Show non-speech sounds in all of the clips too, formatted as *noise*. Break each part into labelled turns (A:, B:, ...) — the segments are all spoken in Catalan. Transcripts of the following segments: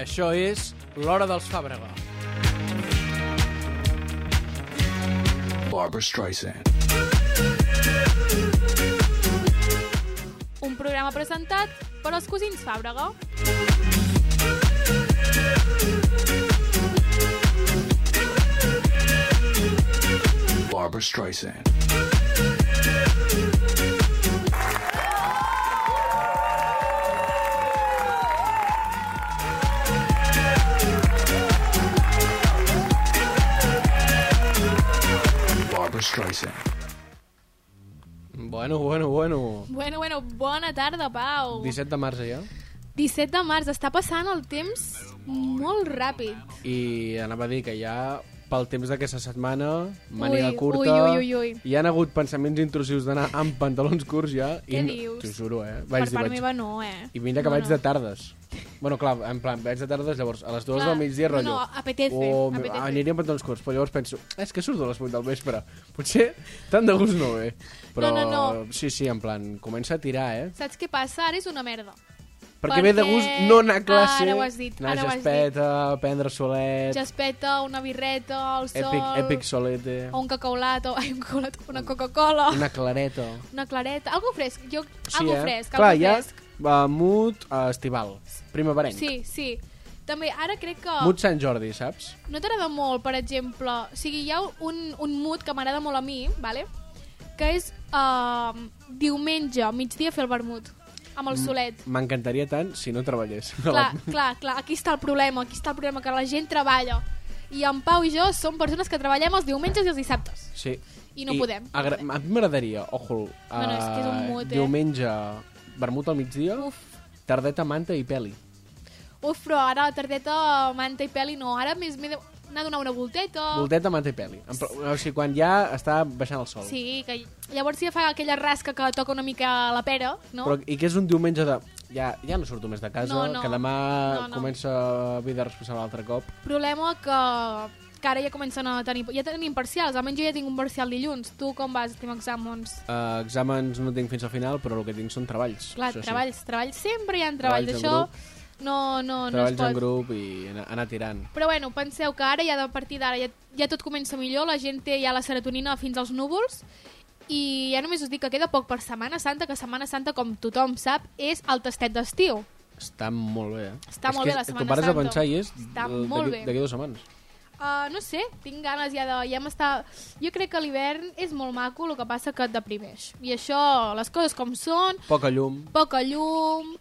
A: Això és l'Hora dels Fàbrega.
B: Barbara Streisand.
C: Un programa presentat per els cosins Fàbrega.
B: Barbara Streisand. Barbara Streisand.
A: Bueno, bueno, bueno.
C: Bueno, bueno, bona tarda, Pau.
A: 17 de març ja.
C: 17 de març, està passant el temps molt ràpid.
A: I anava a dir que ja pel temps d'aquesta setmana, màniga
C: Ui,
A: curta...
C: ui, ui, ui, ui.
A: Hi han hagut pensaments intrusius d'anar amb pantalons curts ja.
C: Què
A: i,
C: dius?
A: T'ho juro, eh?
C: Per
A: dir,
C: part meva no, eh?
A: I mira que
C: no,
A: vaig
C: no.
A: de tardes. Bueno, clar, en plan, vaig de tardes, llavors, a les dues
C: Clar,
A: del migdia,
C: no,
A: rotllo.
C: no, apetece,
A: o,
C: apetece.
A: Aniria amb pantalons curts, però llavors penso, és que surto a les 8 del vespre. Potser tant de gust no ve. Però
C: No, no,
A: sí, sí, en plan, comença a tirar, eh?
C: Saps què passa? Ara és una merda.
A: Perquè, ve de
C: Perquè-
A: gust no anar a classe,
C: Ara ho has dit,
A: anar
C: ara ho
A: a
C: has
A: jaspeta, prendre solet,
C: Jaspeta, una birreta, el sol... Oh.
A: èpic, èpic solete,
C: O un cacaulat, o... Ai, un cacaulat, una Coca-Cola, una...
A: una
C: *laughs*
A: clareta.
C: clareta... Algo fresc, jo...
A: Sí,
C: algo
A: eh?
C: fresc,
A: Clar,
C: algo
A: ja
C: fresc.
A: va mut a eh, estival, primaverenc.
C: Sí, oh. sí. També, ara crec que...
A: Mut Sant Jordi, saps?
C: No t'agrada molt, per exemple... O sigui, hi ha un, un mood que m'agrada molt a mi, vale? que és uh, diumenge, migdia, fer el vermut amb el solet.
A: M'encantaria tant si no treballés.
C: Clar, clar, clar, aquí està el problema, aquí està el problema, que la gent treballa. I en Pau i jo som persones que treballem els diumenges i els dissabtes.
A: Sí.
C: I no podem, no
A: Agra...
C: podem.
A: A mi m'agradaria, ojo,
C: No, no, és que és un
A: eh,
C: mut, eh?
A: diumenge, vermut al migdia,
C: Uf,
A: tardeta, manta i peli.
C: uf, però ara la tardeta, manta i peli, no. Ara més m'he d'anar a donar una volteta.
A: Volteta, manta i peli. En pla- O sigui, quan ja està baixant el sol.
C: Sí, que llavors ja fa aquella rasca que toca una mica la pera, no?
A: Però, I que és un diumenge de... Ja, ja no surto més de casa,
C: No, no.
A: que demà
C: No, no.
A: comença vida responsable altre cop.
C: problema que, que ara ja comencen a tenir... Ja tenim parcials, almenys jo ja tinc un parcial dilluns. Tu com vas? Tenim exàmens.
A: Uh, exàmens no tinc fins al final, però el que tinc són treballs.
C: Clar,
A: això sí.
C: treballs, treballs, sempre hi ha treballs.
A: Treballs en
C: Això
A: grup.
C: no, no, no es
A: treballs
C: pot.
A: en grup i anar, anar tirant.
C: Però bueno, penseu que ara ja de partir d'ara ja, ja tot comença millor, la gent té ja la serotonina fins als núvols i ja només us dic que queda poc per Setmana Santa, que Setmana Santa, com tothom sap, és el tastet d'estiu.
A: Està molt bé, eh?
C: Està
A: és
C: molt
A: que
C: bé la
A: tu
C: Setmana
A: pares
C: Santa.
A: a pensar i és
C: Està
A: eh,
C: molt
A: d'aquí-
C: bé.
A: d'aquí dues setmanes.
C: Uh, no sé, tinc ganes ja de... Ja m'està... Jo crec que l'hivern és molt maco, el que passa que et deprimeix. I això, les coses com són,
A: Poca llum,
C: poca llum...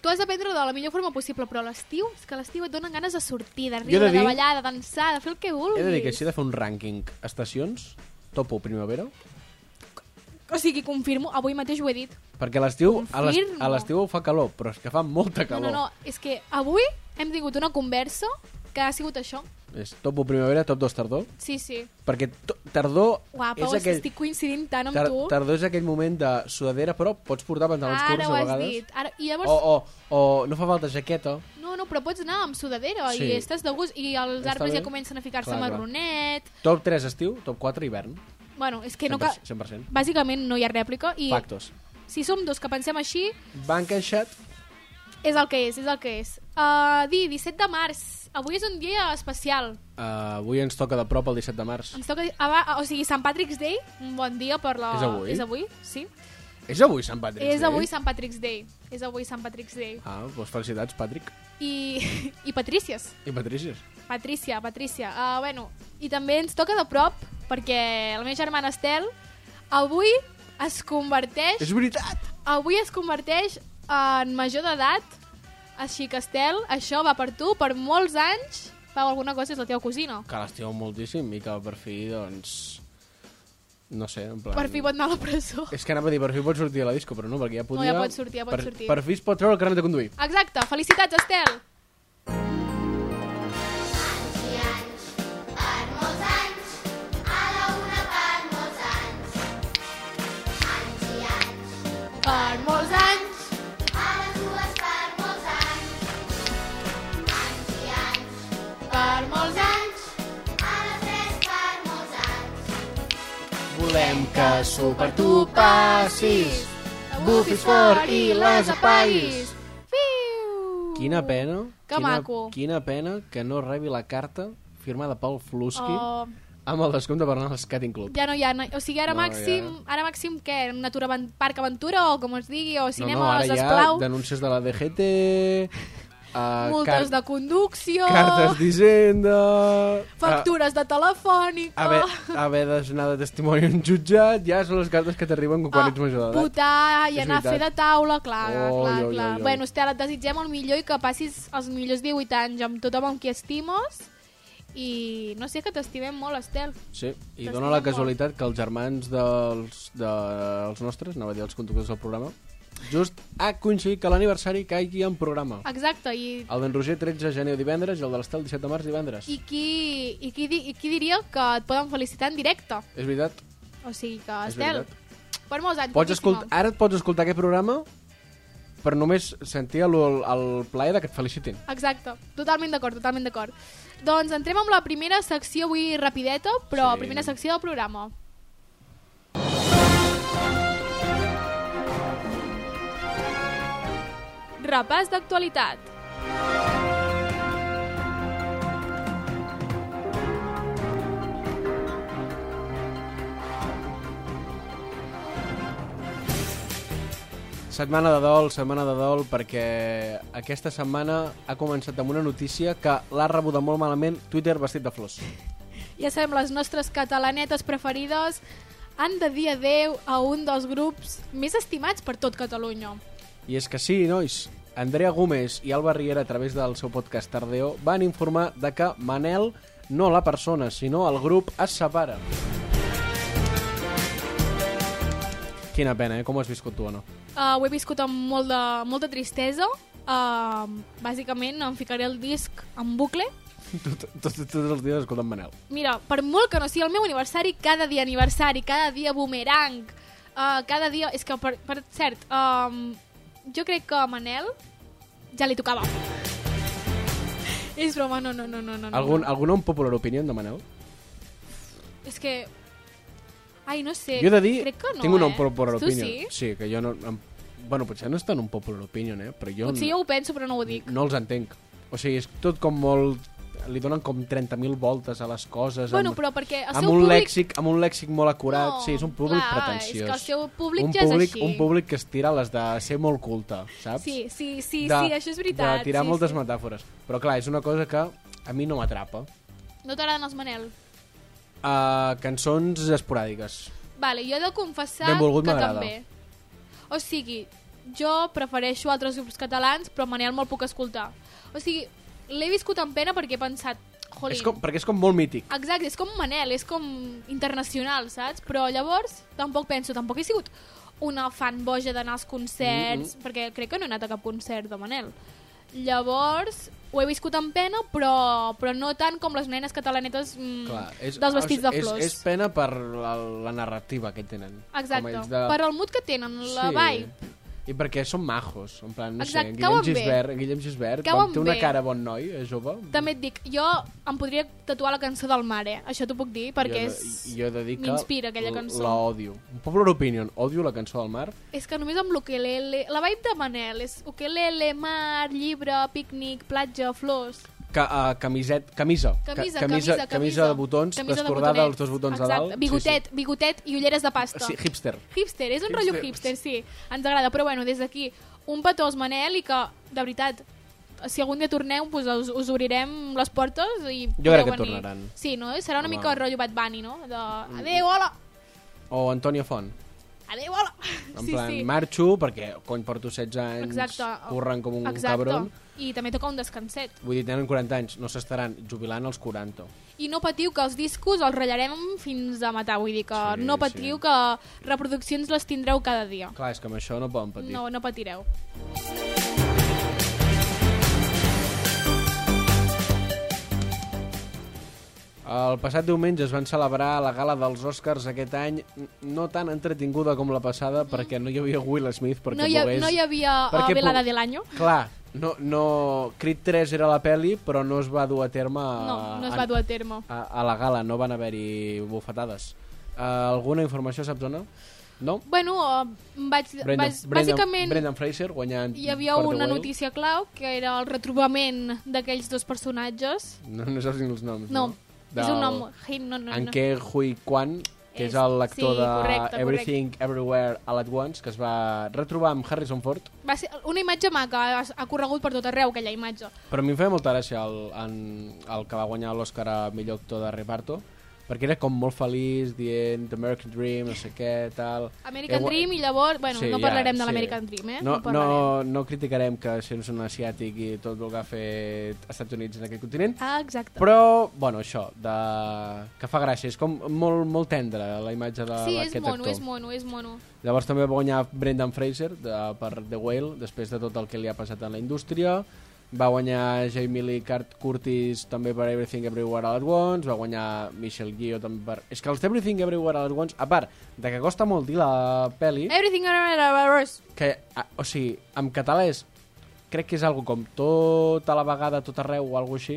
C: Tu has de prendre de la millor forma possible, però a l'estiu, és que a l'estiu et donen ganes de sortir, de riure,
A: de
C: de,
A: dir-
C: ballar, de dansar, de fer el que vulguis.
A: He de dir que així de fer un rànquing estacions, topo primavera,
C: O sigui, confirmo, avui mateix ho he dit.
A: perquè a l'estiu a l'es-
C: Confirmo.
A: a l'estiu fa calor, però és que fa molta
C: No,
A: calor.
C: no, no, és que avui hem tingut una conversa que ha sigut això.
A: no. És topo primavera, top dos tardor,
C: Sí, sí.
A: perquè to tardor
C: Guapa,
A: és
C: és
A: aquell...
C: estic coincidint tant amb
A: Tar
C: tu.
A: tardor és aquell moment de sudadera, però pots portar pantalons
C: Ara
A: curts
C: ho
A: a
C: has
A: vegades.
C: dit. Ara... I llavors
A: O, o, o no fa falta jaqueta.
C: No, no, però pots anar amb sudadera
A: Sí.
C: i estàs de gust i els
A: Està
C: arbres
A: bé.
C: ja comencen a ficar-se
A: Clar, clar.
C: marronet.
A: Top 3 estiu, top 4 hivern.
C: Bueno, és que
A: 100%.
C: no cal...
A: 100%.
C: Bàsicament no hi ha rèplica i
A: Factos.
C: si som dos que pensem així,
A: Va encaixat
C: és el que és, és el que és. Uh, dir, 17 de març, avui és un dia especial.
A: Uh, avui ens toca de prop el 17 de març.
C: Ens toca... Ah, o sigui, Sant Patrick's Day, un bon dia per la...
A: És avui?
C: És avui, sí.
A: És avui Sant Patrick?
C: és avui Sant Patrick's Day. És avui Sant Patrick's Day.
A: Ah, doncs felicitats, Patrick.
C: I, i *laughs* Patrícies.
A: I Patricies.
C: Eh. Patrícia, Patrícia. Uh, bueno, i també ens toca de prop, perquè la meva germana Estel avui es converteix,
A: És veritat!
C: avui es converteix en major d'edat, així que Estel, això va per tu, per molts anys, Pau, alguna cosa és la teva cosina.
A: Que l'estimeu moltíssim i que per fi, doncs... No sé, en plan...
C: Per fi pot anar a la presó.
A: És que anava a dir, per fi pot sortir a la disco, però no, perquè ja
C: No,
A: podia...
C: ja pot sortir, ja pot
A: per,
C: sortir.
A: Per fi es pot treure el carnet de conduir.
C: Exacte, felicitats, Estel! Per molts anys! Per molts anys!
A: Volem que s'ho per
C: Bufis fort i les apaguis! Fiu!
A: Quina pena...
C: Que
A: quina,
C: maco.
A: Quina pena que no rebi la carta firmada pel Flusky
C: Oh,
A: amb el descompte per anar al Skating Club.
C: ja no hi ha... no- O sigui, ara
A: No,
C: màxim... Ara màxim què? Natura, Aven- Parc Aventura o com es digui, o
A: no, no,
C: cinema,
A: ara
C: no,
A: hi ha
C: esplau,
A: denúncies de la
C: *laughs*
A: DGT... Uh,
C: multes de conducció,
A: eh, Cartes d'Hisenda...
C: *laughs* factures de telefònic... ah,
A: A, haver, haver d'anar de testimoni a un jutjat, ja són les cartes que t'arriben
C: Ah,
A: quan ets major d'edat.
C: Putar i
A: És
C: anar a fer de
A: veritat. Oh,
C: taula, clar,
A: Oi,
C: clar,
A: oi, oi,
C: clar.
A: oi.
C: Bueno, Estela, et desitgem el millor i que passis els millors 18 anys amb tothom amb qui estimes i no sé, que t'estimem molt, Estel.
A: Sí, i
C: T'estimem
A: dona la
C: molt.
A: casualitat que els germans dels, dels nostres, anava a dir els conductors del programa, just ha coincidit que l'aniversari caigui en programa.
C: Exacte, i,
A: El d'en Roger 13 de gener divendres i el de l'Estel 17 de març divendres.
C: i, qui, i, qui, di- i qui diria que et poden felicitar en directe?
A: És veritat?
C: O sigui que,
A: És
C: Estel,
A: veritat.
C: per molts anys.
A: Pots
C: boníssima.
A: escoltar, ara et pots escoltar aquest programa per només sentir el, el plaer de que et felicitin.
C: Exacte, totalment d'acord, totalment d'acord. Doncs entrem amb la primera secció, avui rapideta, però
A: Sí.
C: primera secció del programa. Repàs d'actualitat.
A: Setmana de dol, setmana de dol, perquè aquesta setmana ha començat amb una notícia que l'ha rebuda molt malament Twitter vestit de flors.
C: Ja sabem, les nostres catalanetes preferides han de dir adeu a un dels grups més estimats per tot Catalunya.
A: I és que sí, nois, Andrea Gómez i Alba Riera, a través del seu podcast Tardeo, van informar de que Manel, no la persona, sinó el grup, es separa. Quina pena, eh? Com ho has viscut tu, Anna?
C: Uh, ho he viscut amb molt de, molta tristesa. Uh, bàsicament em ficaré el disc en bucle.
A: *laughs* Tot- tot- Tots els dies escoltant Manel.
C: Mira, per molt que no sigui el meu aniversari, cada dia aniversari, cada dia boomerang, uh, cada dia... És que, per, per cert, um, jo crec que a Manel ja li tocava. *laughs* És broma, no, no, no, no. no
A: Algun,
C: no.
A: alguna un popular opinió de Manel?
C: És que... Ai, no sé.
A: Jo he de dir,
C: Eh, crec que no,
A: tinc una
C: eh?
A: popular
C: Tu
A: opinion.
C: sí?
A: sí, que jo no... Em, bueno, potser no és tan un popular opinion, eh? Però jo
C: Potser jo ho penso, però no ho dic.
A: no els entenc. O sigui, és tot com molt... Li donen com 30.000 voltes a les coses.
C: Bueno,
A: amb-
C: però perquè el
A: amb
C: seu
A: un
C: públic...
A: lèxic, amb un lèxic molt acurat. sí, és un públic
C: clar,
A: pretensiós.
C: És que el seu públic
A: un
C: ja
A: públic,
C: és així.
A: Un públic que es tira les de ser molt culte, saps?
C: Sí, sí, sí,
A: de,
C: sí, això és veritat.
A: De tirar
C: sí,
A: moltes
C: sí.
A: metàfores. Però clar, és una cosa que a mi no m'atrapa.
C: No t'agraden els Manel?
A: Uh, cançons esporàdiques.
C: Vale, jo he de confessar
A: Benvolgut
C: que
A: m'agrada.
C: també. O sigui, jo prefereixo altres grups catalans, però Manel me'l puc escoltar. O sigui, l'he viscut amb pena perquè he pensat... Jolín,
A: És com, perquè és com molt mític.
C: Exacte, és com Manel, és com internacional, saps? Però llavors tampoc penso, tampoc he sigut una fan boja d'anar als concerts,
A: Mm-hmm.
C: mm -hmm. perquè crec que no he anat a cap concert de Manel. Llavors, ho he viscut amb pena, però, però no tant com les nenes catalanetes mm,
A: Clar, és,
C: dels vestits de
A: és-
C: flors.
A: És, és pena per la, la narrativa que tenen. Com
C: Exacte,
A: ells
C: de... per el mood que tenen, la vibe.
A: I perquè són majos, en plan, no
C: Exacte,
A: sé,
C: cauen
A: Guillem
C: bé.
A: Gisbert, Guillem Gisbert
C: Cauen
A: com té una
C: bé.
A: cara bon noi, és jove.
C: També et dic, jo em podria tatuar la cançó del mare, això t'ho puc dir,
A: jo,
C: perquè
A: he de-
C: és...
A: jo he de dir que
C: m'inspira aquella
A: l-
C: cançó.
A: La odio. Un popular opinion, odio la cançó del mar.
C: És que només amb l'ukelele... La vibe de Manel és ukelele, mar, llibre, pícnic, platja, flors...
A: Ca, uh, camiset, camisa. Ca-
C: Camisa, camisa,
A: camisa,
C: camisa,
A: de botons,
C: camisa de
A: descordada
C: botonets.
A: als dos botons
C: Exacte.
A: de dalt.
C: Bigotet, sí, sí. bigotet i ulleres de
A: Sí,
C: pasta.
A: sí. sí, hipster.
C: Hipster, és un rotllo hipster, sí. Ens agrada, però bueno, des d'aquí, un petó als Manel i que, de veritat, si algun dia torneu, doncs us, us obrirem les portes i...
A: Jo crec
C: podreu
A: que
C: venir.
A: tornaran.
C: Sí, no? Serà una
A: Home. Mm.
C: mica el rotllo Bad Bunny, no? De... Adéu, hola!
A: O Antonio Font.
C: Adéu, hola!
A: En
C: sí,
A: plan,
C: sí.
A: marxo perquè, cony, porto 16 anys,
C: Exacte.
A: curren com un
C: Exacte.
A: cabron.
C: I també toca un descanset.
A: Vull dir, tenen 40 anys, no s'estaran jubilant als 40.
C: I no patiu que els discos els ratllarem fins a matar, vull dir que
A: Sí,
C: sí, no patiu
A: sí.
C: sí. que reproduccions les tindreu cada dia.
A: Clar, és que amb això no poden patir.
C: No, no patireu.
A: El passat diumenge es van celebrar la gala dels Oscars aquest any, n- no tan entretinguda com la passada, perquè no hi havia Will Smith perquè
C: No hi, ha,
A: pogués...
C: no hi havia
A: Perquè
C: uh, velada
A: pu-
C: de l'any.
A: Clar, no, no... Creed 3 era la peli, però no es va dur a terme... a-
C: No, no es va dur a terme.
A: A, a la gala, no van haver-hi bufetades. Uh, alguna Eh, informació, saps o no? No?
C: Bueno, eh, vaig,
A: Brendan,
C: vaig,
A: Brendan,
C: bàsicament
A: Brendan Fraser guanyant
C: hi havia
A: per The
C: una
A: Whale.
C: notícia clau, que era el retrobament d'aquells dos personatges.
A: No, no saps ni els noms,
C: No,
A: no?
C: és un nom... Hey, no, no,
A: En
C: no.
A: Ke Hui Kwan, que és,
C: És-
A: l'actor
C: sí,
A: de
C: correcte,
A: Everything Everywhere All At Once, que es va retrobar amb Harrison Ford.
C: Va ser una imatge maca, ha, ha corregut per tot arreu aquella imatge.
A: Però a mi em feia molta gràcia el, en, el que va guanyar l'Oscar a millor actor de reparto, perquè era com molt feliç, dient The American Dream, no sé què, tal...
C: American
A: Eh, gua-
C: Dream i llavors... Bueno,
A: Sí,
C: no
A: ja,
C: parlarem de
A: sí.
C: l'American Dream, eh?
A: No, no,
C: parlarem.
A: no criticarem que sents un asiàtic i tot el que ha fet Estats Units en aquest continent,
C: Ah, exacte.
A: però, bueno, això, de... que fa gràcia, és com molt, molt tendre la imatge de-
C: sí, és
A: d'aquest
C: mono,
A: actor.
C: és mono, és mono.
A: Llavors també va guanyar Brendan Fraser de, per The Whale, després de tot el que li ha passat en la indústria. Va guanyar Jamie Lee Cart Curtis també per Everything Everywhere All At Once, va guanyar Michelle Yeoh també per... És que els Everything Everywhere All At Once, a part de que costa molt dir la peli,
C: Everything Everywhere
A: que, a, o sigui, en català és... Crec que és algo com tota la vegada, tot arreu o alguna així.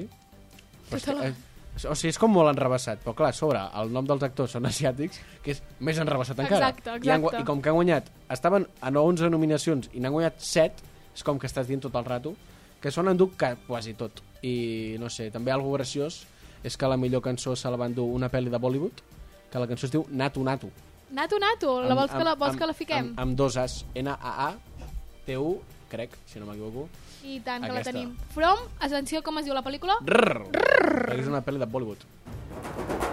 A: Però és
C: Tota la-
A: que, eh, o sigui, és com molt enrebaçat, però clar, a sobre, el nom dels actors són asiàtics, que és més enrebaçat encara.
C: Exacte,
A: I, han, gua-
C: exacte.
A: I com que han guanyat, estaven a 11 nominacions i n'han guanyat 7, és com que estàs dient tot el rato, que són enduc ca- quasi tot. I no sé, també algo graciós és que la millor cançó se la va endur una pel·li de Bollywood, que la cançó es diu Nato Nato.
C: Nato, nato, la vols que la, vols que la fiquem?
A: Amb, amb dos As. N-A-A-T-U, crec, si no m'equivoco.
C: I tant, que
A: aquesta.
C: la tenim. From, atenció com es diu la pel·lícula.
A: Rrrr. Rrrr. És una pel·li de Bollywood.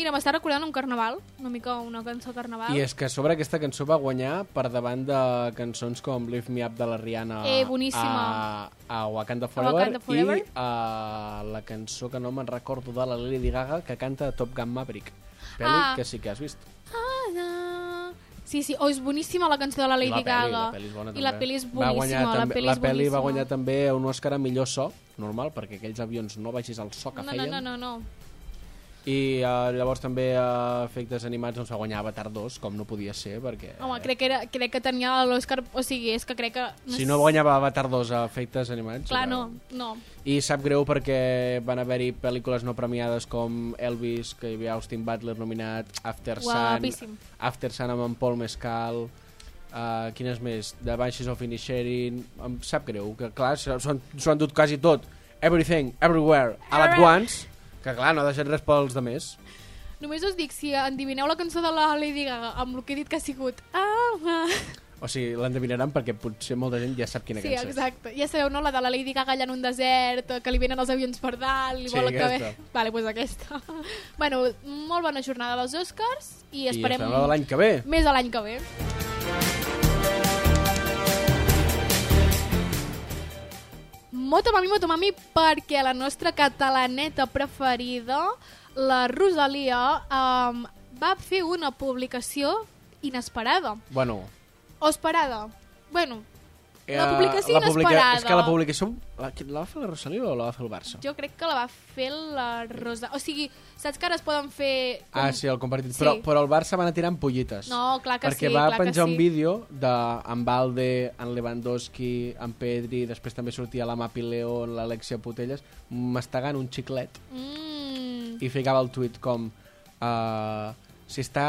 C: Mira, m'està recordant un carnaval, una mica una cançó carnaval.
A: I és que a sobre aquesta cançó va guanyar per davant de cançons com Lift Me Up de la Rihanna
C: Eh, boníssima.
A: a, a Wakanda Forever,
C: Wakanda Forever.
A: i a la cançó que no me'n recordo de la Lady Gaga que canta Top Gun Maverick. Pel·li
C: Ah.
A: que sí que has vist.
C: Ah, na... Sí, sí, oh, és boníssima la cançó de la
A: I
C: Lady
A: la pel·li,
C: Gaga.
A: la pel·li és bona
C: I la
A: també.
C: pel·li és
A: Va guanyar
C: boníssima, la
A: també-
C: pel·li
A: la
C: és
A: pel·li va
C: boníssima.
A: guanyar també un Òscar a millor so, normal, perquè aquells avions no baixis al so que
C: No, no,
A: feien.
C: no, no, no.
A: I uh, llavors també a efectes animats doncs, va guanyar Avatar 2, com no podia ser, perquè...
C: Home, crec que, era, crec que tenia l'Òscar... O sigui, és que crec que...
A: Si no guanyava Avatar 2 a efectes animats...
C: Clar,
A: era-
C: no, no.
A: I sap greu perquè van haver-hi pel·lícules no premiades com Elvis, que hi havia Austin Butler nominat, After Sun,
C: Guapíssim.
A: After Sun amb en Paul Mescal, uh, quines més? The Banshees of Inisherin... Em sap greu, que clar, s'ho han- s'ho han dut quasi tot. Everything, Everywhere, All at
C: Everywhere.
A: Once, que clar, no ha deixat res pels de més.
C: Només us dic, si endivineu la cançó de la Lady Gaga amb el que he dit que ha sigut... Ah, ah.
A: O sigui, l'endevinaran perquè potser molta gent ja sap quina
C: Sí,
A: cançó és.
C: exacte. Ja sabeu, no? La de la Lady Gaga allà en un desert, que li venen els avions per dalt, li
A: Sí,
C: vol acabar...
A: aquesta.
C: Vale, doncs aquesta. *laughs* bueno, molt bona jornada dels Oscars i esperem,
A: I esperem la de l'any que ve.
C: més a l'any que ve. Motomami, motomami, perquè la nostra catalaneta preferida, la Rosalia, um, va fer una publicació inesperada.
A: Bueno,
C: O esperada. Bueno,
A: eh,
C: La publicació inesperada.
A: És que la publicació... La, qui- la va fer la Rosalía o la va fer el Barça?
C: Jo crec que la va fer la Rosa... O sigui, saps que ara es poden fer... com-
A: Ah, sí, el compartit.
C: Sí.
A: Però, però el Barça va anar tirant pollites.
C: No, clar que
A: perquè
C: sí,
A: va
C: clar que
A: penjar un
C: sí.
A: vídeo de en Valde, en Lewandowski, en Pedri, després també sortia la Mapi León, l'Alexia Putelles, mastegant un xiclet
C: Mm,
A: i ficava el tuit com uh, se està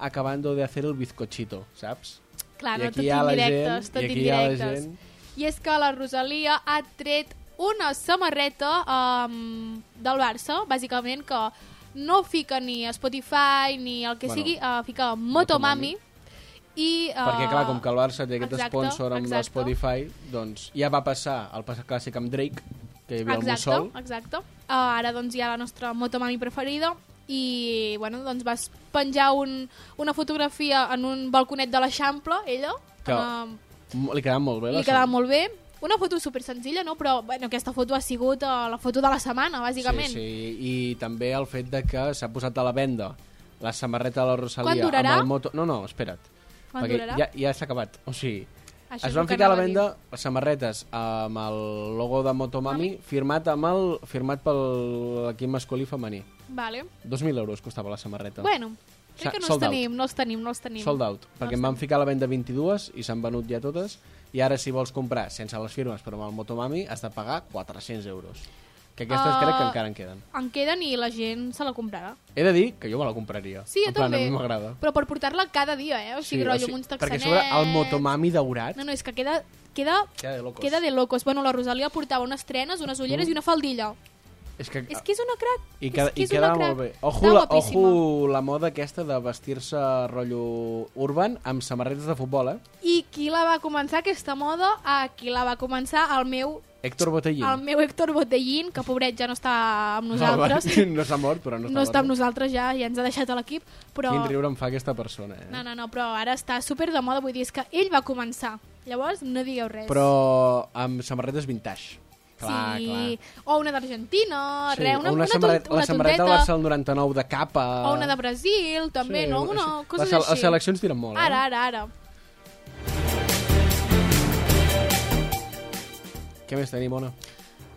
A: acabando de hacer el bizcochito, saps?
C: clar,
A: I
C: no,
A: aquí
C: tot
A: hi ha la
C: indirectes,
A: gent,
C: tot
A: i aquí hi ha la
C: indirectes.
A: gent.
C: I és que la Rosalia ha tret una samarreta um, del Barça, bàsicament, que no fica ni a Spotify ni el que
A: Bueno,
C: bueno, sigui, uh, fica Motomami. I, uh,
A: Perquè, clar, com que el Barça té aquest
C: exacte,
A: sponsor amb
C: exacte.
A: Spotify, doncs ja va passar el passat clàssic amb Drake, que hi havia el
C: exacte,
A: Mussol.
C: Exacte, uh, Ara doncs hi ha la nostra motomami preferida i bueno, doncs vas penjar un, una fotografia en un balconet de l'Eixample, ella.
A: Que
C: amb,
A: M- Li quedava molt bé.
C: eh,
A: la
C: Ah. li quedava
A: salut.
C: molt bé. Una foto super senzilla, no? Però bueno, aquesta foto ha sigut uh, la foto de la setmana, bàsicament.
A: Sí, sí, i també el fet de que s'ha posat a la venda la samarreta de la Rosalia
C: Quan durarà?
A: amb el moto... No, no, espera't.
C: Quan
A: perquè
C: durarà?
A: ja, ja s'ha acabat. O sigui,
C: Això
A: es
C: és
A: van
C: el que
A: ficar a la
C: anava a dir.
A: venda les samarretes amb el logo de Motomami firmat amb el firmat pel equip masculí i femení.
C: Vale.
A: 2.000 euros costava la samarreta.
C: Bueno, Crec que no els
A: sold out.
C: tenim, no els tenim, no els tenim.
A: Sold out, perquè em van ficar a la venda 22 i s'han venut ja totes i ara si vols comprar sense les firmes però amb el Motomami has de pagar 400 euros que aquestes
C: Ah.
A: crec que encara en queden
C: En queden i la gent se la comprarà.
A: he de dir que jo me la compraria
C: Sí, jo
A: en plan,
C: també.
A: a mi m'agrada
C: Però per portar-la cada dia, eh? O sigui, sí, rotllo, amb uns
A: perquè a
C: texanets...
A: sobre el Motomami daurat
C: No, no, és que queda, queda,
A: Queda de locos.
C: queda de locos. Bueno, la Rosalia portava unes trenes, unes ulleres i una faldilla.
A: és que,
C: És que és una crac.
A: i, queda,
C: és que
A: i
C: és
A: quedava
C: una crac.
A: molt bé ojo
C: Estava
A: la,
C: guapíssima.
A: ojo la moda aquesta de vestir-se rotllo urban amb samarretes de futbol eh?
C: I qui la va començar, aquesta moda? Ah, qui la va començar? El meu,
A: Héctor Botellín
C: el meu Héctor Botellín, que pobret ja no està amb nosaltres.
A: no, va, *laughs* no s'ha mort però no està,
C: no està amb
A: mort.
C: nosaltres ja, ja ens ha deixat a l'equip, però...
A: quin riure em fa aquesta persona eh?
C: No, no, no, però ara està super de moda, vull dir, és que ell va començar. Llavors, no digueu res.
A: però amb samarretes vintage. Clar,
C: sí,
A: clar.
C: o una d'Argentina,
A: Sí,
C: res, una,
A: o
C: una,
A: samarre-
C: tont- una
A: la samarreta
C: tonteta,
A: del Barça del 99 de capa.
C: o una de Brasil, també, no? Alguna cosa
A: les,
C: així.
A: Les seleccions tiren molt,
C: Ara, ara, ara.
A: eh? Què més tenim, Ona?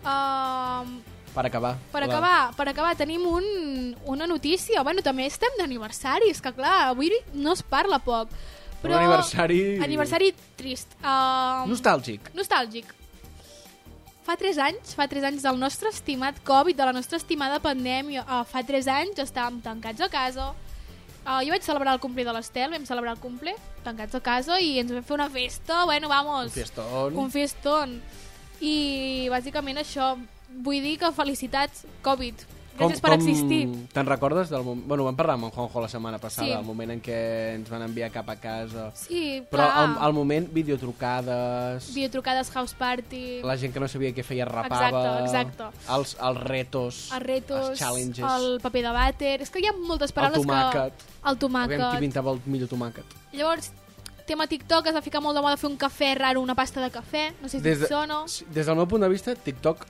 C: Um,
A: Per acabar.
C: per
A: la-
C: acabar, per acabar, tenim un, una notícia. Bueno, també estem d'aniversari, és que clar, avui no es parla poc. Però
A: Un aniversari-
C: Aniversari trist. Um,
A: Nostàlgic.
C: Nostàlgic. Fa 3 anys, fa 3 anys del nostre estimat Covid, de la nostra estimada pandèmia. Uh, fa 3 anys estàvem tancats a casa. Uh, jo vaig celebrar el cumple de l'Estel, vam celebrar el cumple, tancats a casa, i ens vam fer una festa, bueno, vamos.
A: Un fiestón.
C: Un fiestón. I bàsicament això, vull dir que felicitats, Covid. Gràcies per existir.
A: Te'n recordes del moment... Bueno, vam parlar amb en Juanjo la setmana passada,
C: Sí.
A: el moment en què ens van enviar cap a casa.
C: Sí,
A: Però
C: clar.
A: al, al moment, videotrucades...
C: Videotrucades, house party...
A: La gent que no sabia què feia rapava...
C: Exacte, exacte.
A: Els, els retos,
C: els retos,
A: els challenges...
C: el paper de vàter... És que hi ha moltes paraules
A: tomàquet.
C: que... El tomàquet.
A: Aviam qui pintava el millor tomàquet.
C: Llavors, tema TikTok, es va ficar molt de moda fer un cafè raro, una pasta de cafè, no sé si
A: Des,
C: Des
A: de,
C: et sona.
A: sí, des del meu punt de vista, TikTok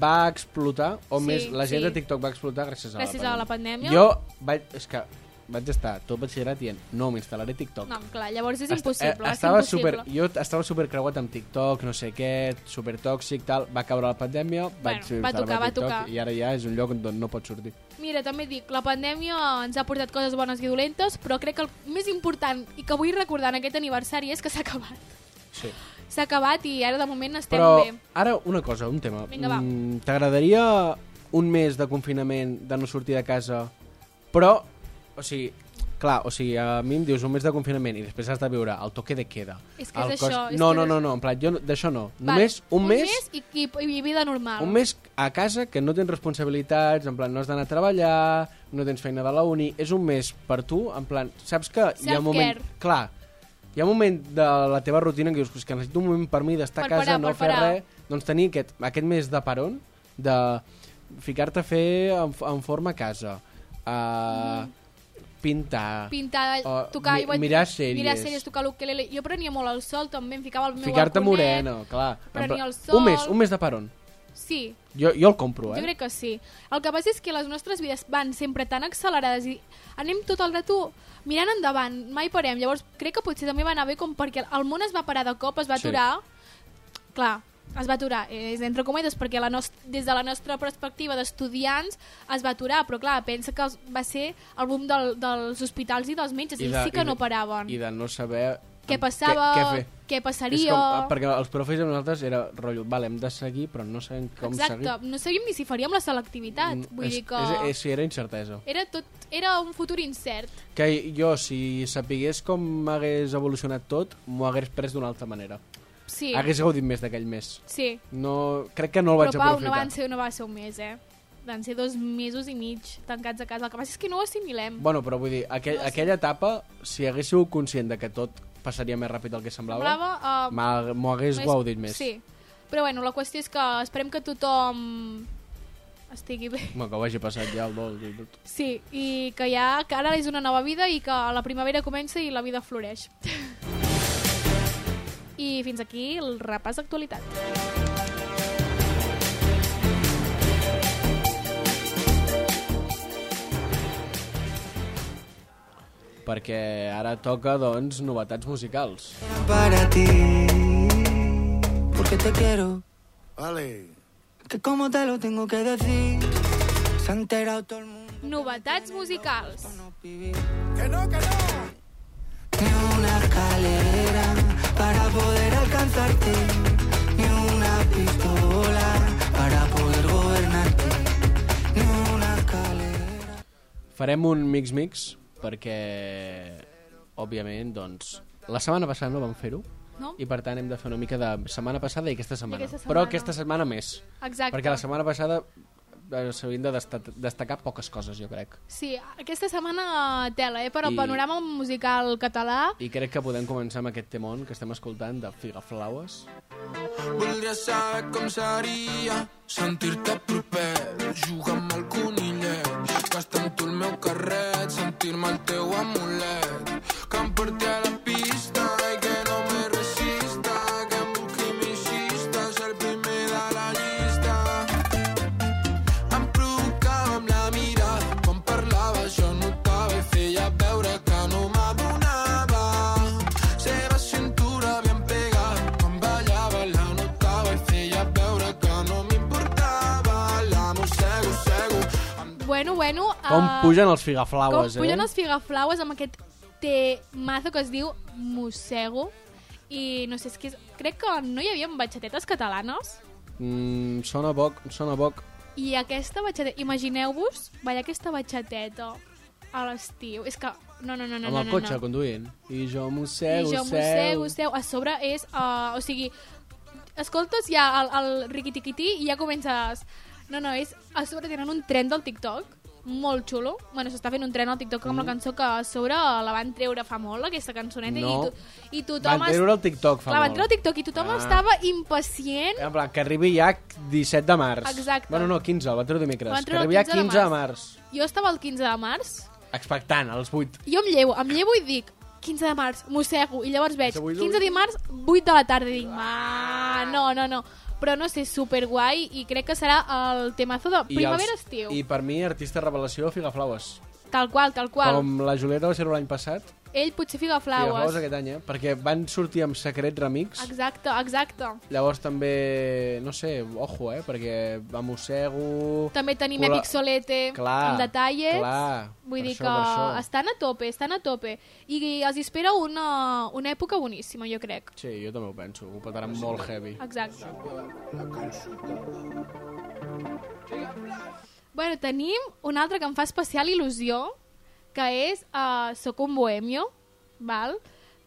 A: va explotar, o
C: Sí,
A: més, la gent de
C: sí.
A: TikTok va explotar gràcies a
C: Gràcies a
A: la
C: la
A: pandèmia.
C: pandèmia.
A: Jo vaig, és que vaig estar tot batxillerat dient, no, m'instal·laré TikTok.
C: No, clar, llavors és
A: Est- eh,
C: impossible. va ser
A: estava
C: impossible.
A: super, jo t- estava super creuat amb TikTok, no sé què, super tòxic, tal. Va caure la pandèmia, vaig
C: va
A: instal·lar-me
C: tocar, va
A: TikTok,
C: tocar.
A: I ara ja és un lloc on no pots sortir.
C: Mira, també dic, la pandèmia ens ha portat coses bones i dolentes, però crec que el més important i que vull recordar en aquest aniversari és que s'ha acabat.
A: Sí.
C: S'ha acabat i ara de moment estem
A: Però
C: bé.
A: ara una cosa, un tema.
C: Vinga, va.
A: Mm, T'agradaria un mes de confinament, de no sortir de casa, però, o sigui, clar, o sigui, a mi em dius un mes de confinament i després has de viure el toque de queda.
C: És que és
A: el
C: això, és
A: no,
C: que
A: no,
C: és-
A: no, no, en plan, jo no- d'això no.
C: Va,
A: Només un, mes,
C: i, i, i vida normal.
A: un mes a casa que no tens responsabilitats, en plan, no has d'anar a treballar, no tens feina de la uni, és un mes per tu, en plan, saps que hi ha un moment...
C: Self-care.
A: Clar, hi ha un moment de la teva rutina en què dius "És que necessito un moment per mi d'estar a
C: Per
A: casa,
C: parar,
A: no
C: per
A: fer
C: parar."
A: res, doncs tenir aquest, aquest mes de peron, de ficar-te a fer en, en forma a casa, uh,
C: Mm.
A: pintar,
C: pintar,
A: O
C: tocar...
A: Ah, mi-
C: jo vaig-
A: mirar sèries.
C: Mirar sèries, tocar l'ukelele. Jo prenia molt el sol, també, em ficava el meu
A: ficar-te
C: balconet.
A: morena, clar. En
C: prenir
A: pla-
C: el sol.
A: Un mes, un mes de peron.
C: Sí,
A: Jo, jo el compro, eh?
C: Jo crec que sí. El que passa és que les nostres vides van sempre tan accelerades i anem tot el rato mirant endavant, mai parem. Llavors crec que potser també va anar bé com perquè el món es va parar de cop, es va
A: Sí.
C: aturar. Clar, es va aturar, és entre cometes, perquè la nost des de la nostra perspectiva d'estudiants es va aturar, però clar, pensa que els- va ser el boom del, dels hospitals i dels metges,
A: I
C: ells
A: de-
C: sí
A: i
C: que
A: de-
C: no paraven.
A: I de no saber...
C: Què
A: amb-
C: passava,
A: Què, què fer.
C: què
A: És
C: passaria...
A: com, ah, perquè els profes de nosaltres era rotllo, vale, hem de seguir, però no sabem com
C: Exacte,
A: seguir. Mm,
C: no sabíem ni si faríem la selectivitat. Vull
A: és,
C: dir que...
A: És, és, sí, era incertesa.
C: Era tot... Era un futur incert.
A: Que jo, si sapigués com hagués evolucionat tot, m'ho hagués pres d'una altra manera.
C: Sí,
A: Hagués gaudit més d'aquell mes.
C: sí.
A: No, crec que no el
C: Però
A: vaig
C: Pau, no,
A: aprofitar.
C: van ser, no va ser un mes, eh? Van ser dos mesos i mig tancats a casa. El que passa és que no ho assimilem.
A: Bueno, però vull dir, aquell, aquella etapa, si hagués sigut conscient de que tot passaria més ràpid del que semblava,
C: Semblava, eh,
A: m'ha- m'ho hagués
C: més-
A: gaudit més.
C: Sí. Però bueno, la qüestió és que esperem que tothom estigui bé.
A: Home, que ho hagi passat ja el dol i tot.
C: Sí, i que ja que ara és una nova vida i que la primavera comença i la vida floreix. I fins aquí el repàs d'actualitat.
A: Perquè ara toca, doncs, novetats musicals.
D: para ti. Porque te quiero.
B: Vale.
D: Que como te lo tengo que decir. Se ha enterado todo el mundo.
C: Novetats musicals.
D: Que no, que no.
E: Ni una escalera para poder alcanzarte. Ni una pistola para poder gobernarte. Ni una escalera.
A: Farem un mix-mix perquè, òbviament, doncs, la setmana passada no vam fer-ho
C: No?
A: i per tant hem de fer una mica de setmana passada i aquesta setmana.
C: aquesta
A: Però
C: setmana.
A: aquesta setmana més.
C: Exacte.
A: Perquè la setmana passada eh, s'havien de desta- destacar poques coses, jo crec.
C: Sí, aquesta setmana tela, eh? Però
A: I-
C: el panorama musical català...
A: I crec que podem començar amb aquest temón que estem escoltant de Figaflaues.
F: Voldria saber com seria sentir-te proper, jugar amb el conillet, gastar amb tu el meu carret, sentir-me el teu amulet, que em porti a la pista i que no me resista, que em busqui mis llistes, el primer de la llista. Em provocava amb la mirada, quan parlava jo notava i feia veure que no m'adonava. Seva cintura ben pegada, quan ballava la notava i feia veure que no m'importava. La mossego, cego, em
C: Bueno, bueno... eh,
A: Com pugen els Figaflaues,
C: com pugen
A: eh?
C: els figaflaues amb aquest temazo que es diu Mossego. I no sé, és que és... crec que no hi havia batxatetes catalanes.
A: Mm, sona boc, sona boc.
C: I aquesta batxateta... Imagineu-vos ballar aquesta batxateta a l'estiu. És que... No, no, no, no.
A: amb el
C: no, no,
A: cotxe
C: no.
A: conduint. I jo
C: I
A: mossego,
C: jo mossego, seu. A sobre és... Uh, o sigui, escoltes ja el, el riquitiquití i ja comences... No, no, és... A sobre tenen un tren del TikTok molt xulo. Bueno, s'està fent un tren al TikTok
A: Mm.
C: amb la cançó que a sobre la van treure fa molt, aquesta cançoneta.
A: No.
C: I, tu, I tothom...
A: Van treure el TikTok fa
C: Clar, van
A: molt.
C: treure el TikTok i tothom
A: Ah.
C: ah. estava impacient.
A: En plan, que arribi ja 17 de març.
C: Exacte.
A: Bueno, no, 15, el van treure dimecres.
C: Van
A: que
C: treure el
A: arribi ja
C: 15 de
A: 15 de març.
C: Jo estava el 15 de març
A: Expectant, als 8.
C: Jo em llevo, em llevo i dic 15 de març, mossego, i llavors veig
A: Avui
C: 15 de març, 8 de la tarda, i dic, ma, no, no, no. Però no sé, superguai, i crec que serà el temazo de
A: I els-
C: primavera-estiu.
A: I per mi, artista revelació, Figaflaues.
C: Tal qual, tal qual.
A: Com la Julieta va ser l'any passat,
C: Ell potser fica
A: Figaflaues
C: flaues.
A: aquest any, eh? Perquè van sortir amb Secret Remix.
C: Exacte, exacte.
A: Llavors també, no sé, ojo, eh? Perquè va mossego...
C: També tenim
A: Col-
C: Epic Solete
A: Clar,
C: amb detalles.
A: clar,
C: Vull
A: per
C: dir
A: això,
C: que
A: per això.
C: estan a tope, estan a tope. I els espera una, una època boníssima, jo crec.
A: Sí, jo també ho penso. Ho petaran molt heavy.
C: Exacte. Bueno, tenim un altre que em fa especial il·lusió, que és uh, Soc un bohemio, val?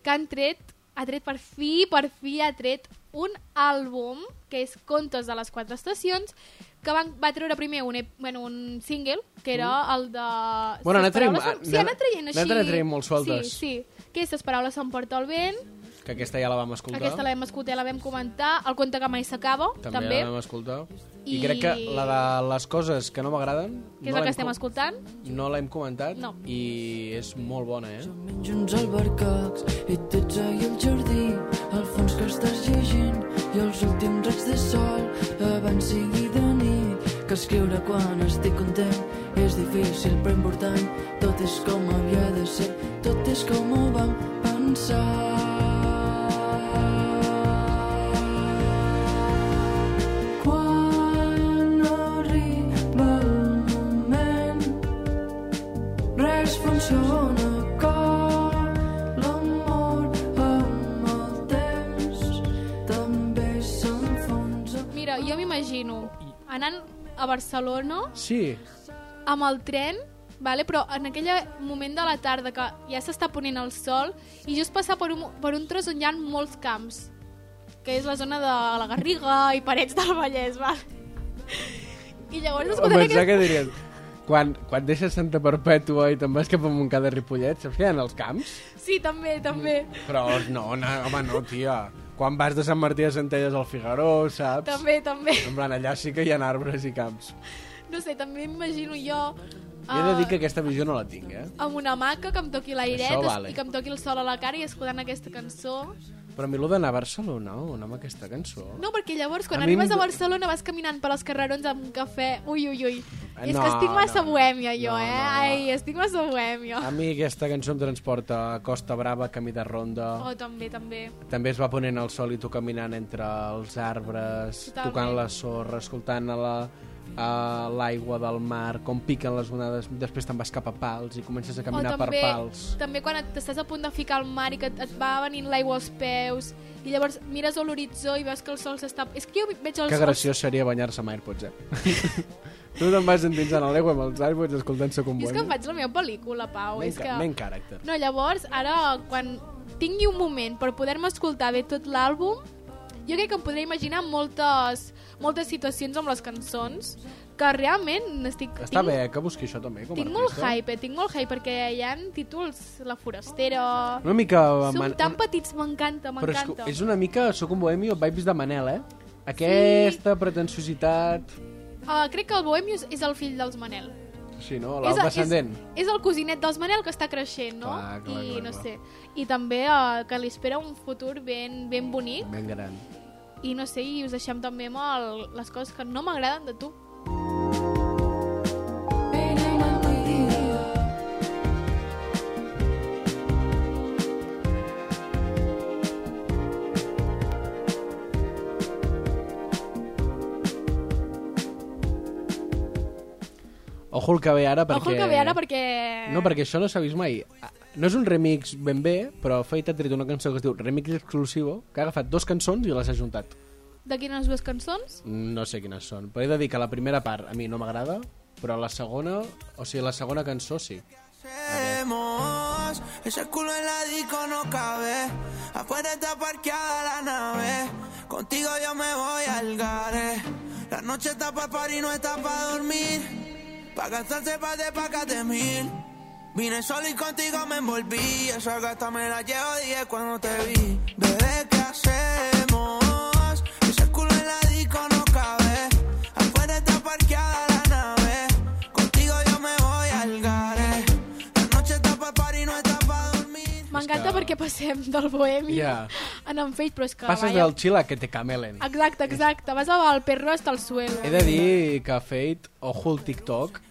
C: que han tret, ha tret per fi, per fi ha tret un àlbum, que és Contes de les Quatre Estacions, que van, va treure primer un, ep- bueno, un single, que era el de...
A: Mm. Bueno,
C: Ses
A: n'ha traient-
C: paraules són- Sí,
A: n'ha-
C: han anat traient així.
A: n'ha anat traient molt sueltes.
C: Sí, sí. Que aquestes paraules s'emporta el vent,
A: Que aquesta ja la vam escoltar.
C: aquesta l'hem escoltat, la vam comentar. El conte que mai s'acaba,
A: també,
C: també.
A: la vam escoltar. I...
C: I-
A: crec que la de les coses que no m'agraden...
C: Que és
A: no l'hem
C: el que estem
A: com-
C: escoltant.
A: No l'hem comentat
C: No.
A: i és molt bona, eh?
E: Menjo uns albercacs i tots ahir al jardí, al fons que estàs llegint i els últims raig de sol abans sigui de nit, que escriure quan estic content és difícil però important, tot és com havia de ser, tot és com ho vam pensar. Quan arriba el moment Res funciona com l'amor amb el temps. També s'enfonsa.
C: Mira, jo m'imagino anant a Barcelona
A: Sí,
C: amb el tren, vale? però en aquell moment de la tarda que ja s'està ponent el sol i just passar per un, per un tros on hi ha molts camps, que és la zona de la Garriga i Parets del Vallès, val? I llavors
A: em
C: escoltaré
A: pensava
C: aquest...
A: que diries... Quan, quan deixes Santa Perpètua i te'n vas cap a Montcada i Ripollet, saps que hi ha els camps?
C: Sí, també, també.
A: Però no, no, home, no, tia. Quan vas de Sant Martí de Centelles al Figaró, saps?
C: També, també.
A: En plan, allà sí que hi ha arbres i camps.
C: No sé, també m'imagino jo...
A: I he de
C: ah,
A: dir que aquesta visió no la tinc, eh?
C: amb una maca que em toqui l'airet
A: Això vale.
C: i que em toqui el sol a la cara i escoltant aquesta cançó.
A: Però a mi allò d'anar a Barcelona, on amb aquesta cançó...
C: No, perquè llavors
A: A
C: quan
A: mi
C: arribes
A: em-
C: a Barcelona vas caminant per als carrerons amb un cafè. Ui, ui, ui.
A: Ah,
C: És
A: no,
C: que estic massa
A: no.
C: bohèmia, jo,
A: No,
C: eh?
A: no, no.
C: Ai, estic massa bohèmia.
A: A mi aquesta cançó em transporta a Costa Brava, camí de ronda...
C: Oh, també, també.
A: També es va ponent el sol i tu caminant entre els arbres,
C: Totalment.
A: tocant la sorra, escoltant a la, a l'aigua del mar, com piquen les onades, després te'n vas cap a pals i comences a caminar
C: o Oh, també,
A: per pals.
C: també quan et- t'estàs a punt de ficar al mar i que et, et va venint l'aigua als peus i llavors mires a l'horitzó i veus que el sol s'està... És que jo veig els...
A: Que graciós seria banyar-se amb AirPods, eh? *laughs* tu te'n vas endinsant a l'aigua amb els AirPods escoltant-se com
C: Jo és que em
A: bueno.
C: faig la meva pel·lícula, Pau.
A: Men,
C: és que...
A: men caràcter.
C: No, llavors, ara, quan tingui un moment per poder-me escoltar bé tot l'àlbum, jo crec que em podré imaginar moltes, moltes situacions amb les cançons que realment estic...
A: Està
C: tinc,
A: bé eh, que busqui això també, com a
C: Tinc molt
A: artista.
C: hype, eh? tinc molt hype, perquè hi ha títols, La Forastera...
A: Una mica... eh,
C: Som
A: man-
C: tan petits, m'encanta,
A: Però és,
C: m'encanta.
A: que és una mica Soc un bohemi o vibes de Manel, eh? Aquesta sí. pretensiositat...
C: Uh, crec que el Bohemius és el fill dels Manel.
A: Sí, no?
C: És,
A: L'alba
C: és,
A: ascendent.
C: és el cosinet dels Manel que està creixent, no?
A: Clar, clar,
C: I
A: clar,
C: no
A: clar.
C: sé. I també uh, que li espera un futur ben, ben bonic.
A: Ben gran.
C: I no sé, i us deixem també amb el, les coses que no m'agraden de tu.
E: Vine amb el dia.
A: Ojo el que ve ara perquè...
C: Ojo el que ve ara perquè...
A: No, perquè això no s'ha vist mai. Ah, No és un remix ben bé, però Fate ha tret una cançó que es diu Remix Exclusivo, que ha agafat dos cançons i les ha juntat.
C: De quines dues cançons?
A: No sé quines són, però he de dir que la primera part a mi no m'agrada, però la segona, o sigui, la segona cançó sí.
D: Hacemos. Ese culo en la disco no cabe. Afuera está parqueada la nave. Contigo yo me voy al gare. La noche está pa' parir, no está pa' dormir. Pa' gastarse pa' de pa' de mil. Vine solo y contigo me envolví. Esa gata me la llevo, dije cuando te vi. Bebé, ¿qué hacemos? Ese culo en la disco no cabe. Afuera está parqueada la nave. Contigo yo me voy al gare. La noche está pa' party, no está pa' dormir.
C: M'encanta perquè passem del bohemi
A: Ja.
C: en en Fate, però és que...
A: Passes
C: vaja.
A: del xil a que te camelen.
C: Exacte, exacte. Vas al perro hasta el suelo.
A: He de dir que Fate, ojo el TikTok,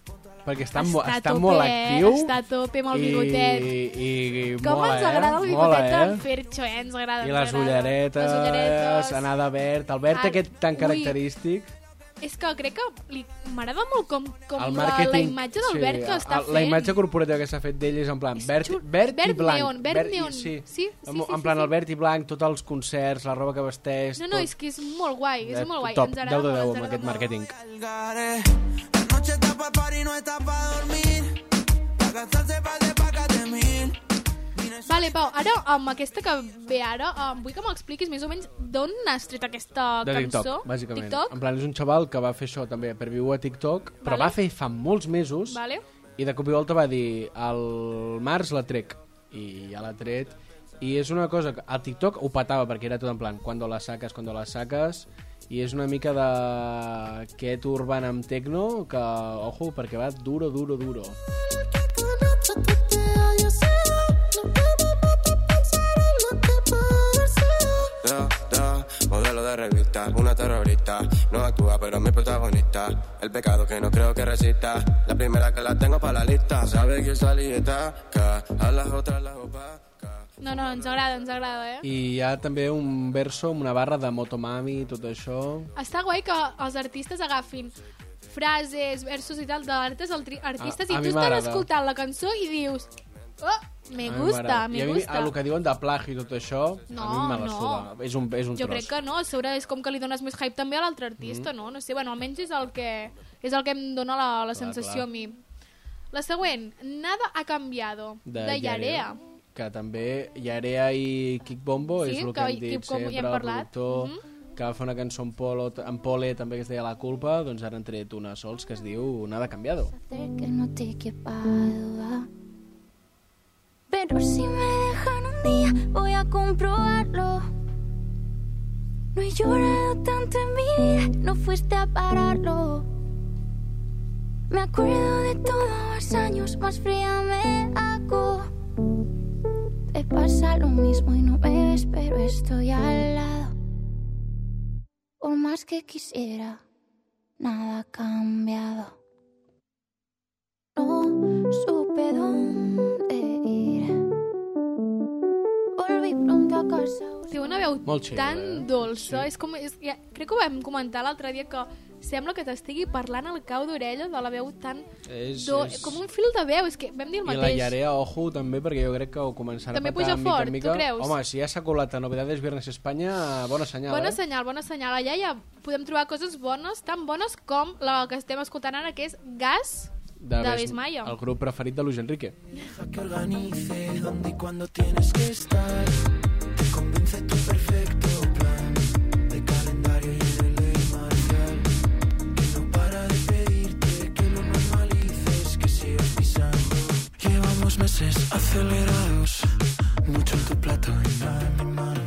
A: perquè està, mo-
C: Està a
A: està
C: tope,
A: molt
C: eh?
A: actiu.
C: Està a tope amb el bigotet.
A: I, i, i
C: Com
A: mola,
C: ens
A: eh?
C: agrada el
A: Mola,
C: bigotet
A: eh?
C: d'en Fercho, eh? Ens agrada,
A: I
C: ens
A: les
C: agrada.
A: ulleretes,
C: Les ulleretes.
A: anar de verd, el verd
C: Ah,
A: aquest tan
C: ui.
A: característic.
C: És que crec que li... m'agrada molt com, com
A: el
C: la,
A: màrqueting...
C: la imatge del verd que està
A: el-
C: fent.
A: La imatge corporativa que s'ha fet d'ell és en plan
C: És
A: verd,
C: xul-
A: verd, i
C: verd
A: blanc.
C: neon, verd
A: i-
C: neon.
A: Sí,
C: Sí, sí,
A: en,
C: sí, sí,
A: en plan
C: sí.
A: el verd i blanc, tots els concerts, la roba que vesteix...
C: No, no,
A: tot.
C: és que és molt guai, és molt guai.
A: Eh, Top,
C: ens
A: 10
C: agrada
A: de 10
C: molt, ens
A: amb
C: agrada
A: aquest
C: molt.
A: màrqueting.
D: Al gare. La noche está pa' party, no está pa' dormir. Pa' gastarse pa' de pa' de mil.
C: Vale, Pau, ara amb aquesta que ve ara, um, vull que m'expliquis més o menys d'on has tret aquesta
A: de
C: cançó.
A: TikTok, bàsicament.
C: TikTok,
A: En plan, és un xaval que va fer això també per viu a TikTok, però
C: Vale.
A: va fer fa molts mesos
C: vale?
A: i de cop i volta va dir al març la trec i ja l'ha tret i és una cosa que a TikTok ho patava perquè era tot en plan quan la saques, quan la saques i és una mica de aquest urban amb tecno que, ojo, perquè va duro, duro, duro.
G: Da, da, modelo de revista, una terrorista. No actúa, pero es mi protagonista. El pecado que no creo que resista. La primera que la tengo para la lista. Sabe que salí de taca, a las otras las opaca.
C: No, no, ens agrada, ens agrada, eh?
A: I hi ha també un verso amb una barra de Motomami, tot això...
C: Està guai que els artistes agafin frases, versos i tal d'artes altri- artistes
A: A- a
C: i
A: mi
C: tu estàs
A: m'agrada.
C: escoltant la cançó i dius oh, me
A: A mi
C: gusta,
A: m'agrada. I
C: me
A: a mi,
C: gusta.
A: El que diuen de plagi i tot això, a mi
C: No,
A: me la
C: no.
A: suda. És un, és un
C: Jo
A: tros.
C: crec que no, a sobre és com que li dones més hype també a l'altre artista, mm. no? No sé, bueno, almenys és el que, és el que em dona la, la sensació
A: clar.
C: a mi. La següent, Nada ha cambiado, de, de Yarea.
A: Que també Yarea i Kick Bombo
C: Sí,
A: és el que,
C: que
A: hem
C: i
A: dit
C: Kick Bombo hi
A: sempre,
C: hem
A: el
C: parlat. Mhm.
A: productor, que va fer una cançó amb, Polo, amb Pole, també que es deia La culpa, doncs ara han tret una sols que es diu Nada cambiado.
H: hacer que no te quepa duda. Pero si me dejan un día, voy a comprobarlo. No he llorado tanto en mi vida, no fuiste a pararlo. Me acuerdo de todos los años, más fría me hago. Te pasa lo mismo y no me ves, pero estoy al lado. Por más que quisiera, nada ha cambiado. No supe dónde ir. Volví pronto a cosa.
C: Té una veu
A: Molt xula,
C: tan
A: eh?
C: dolça. És com, és, ja, crec que ho vam comentar l'altre dia, que sembla que t'estigui parlant al cau d'orella de la veu tan...
A: És,
C: Do,
A: és...
C: Com un fil de veu, és que vam dir
A: I
C: el
A: la
C: mateix.
A: Yarea, ojo, també, perquè jo crec que ho començarà
C: També
A: a petar
C: puja
A: mica
C: fort,
A: en mica.
C: tu creus?
A: Home, si ja s'ha colat a Novedades Viernes Espanya, bona senyal,
C: Bona
A: eh?
C: senyal, bona senyal. Allà ja podem trobar coses bones, tan bones com la que estem escoltant ara, que és Gas de, de
A: Bes-
C: Besmayo.
A: El grup preferit de Luis Enrique.
B: La que organice dónde y cuándo tienes que estar. Te convence tu perfecto plan de calendario y de ley marcial. Que no para de pedirte que lo normalices, que sigas pisando. Llevamos meses acelerados, mucho en tu plato y nada en mi mano.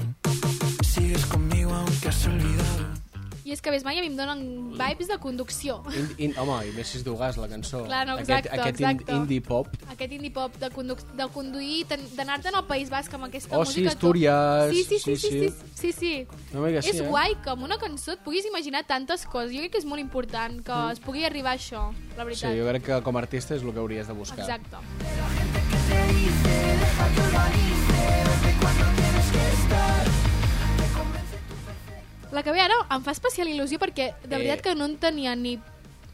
B: Sigues conmigo aunque has olvidado.
C: I és que Besmayo a mi em donen vibes de conducció.
A: In, in, home, i més si es diu gas, la cançó.
C: Clar, no, exacte,
A: aquest, aquest
C: exacte.
A: in- indie pop.
C: Aquest indie pop de, conduc de conduir, ten- d'anar-te'n al País Basc amb aquesta
A: Oh, sí,
C: música... tu-
A: Astúries,
C: Sí, sí, sí,
A: sí,
C: sí, sí, sí, sí.
A: Una mica sí,
C: és
A: eh?
C: guai que amb una cançó et puguis imaginar tantes coses. Jo crec que és molt important que es pugui arribar a això, la
A: Mm. Sí,
C: veritat.
A: jo crec que com a artista és el que hauries de buscar.
C: Exacte. La que ve ara em fa especial il·lusió perquè de
A: Eh.
C: veritat que no en tenia ni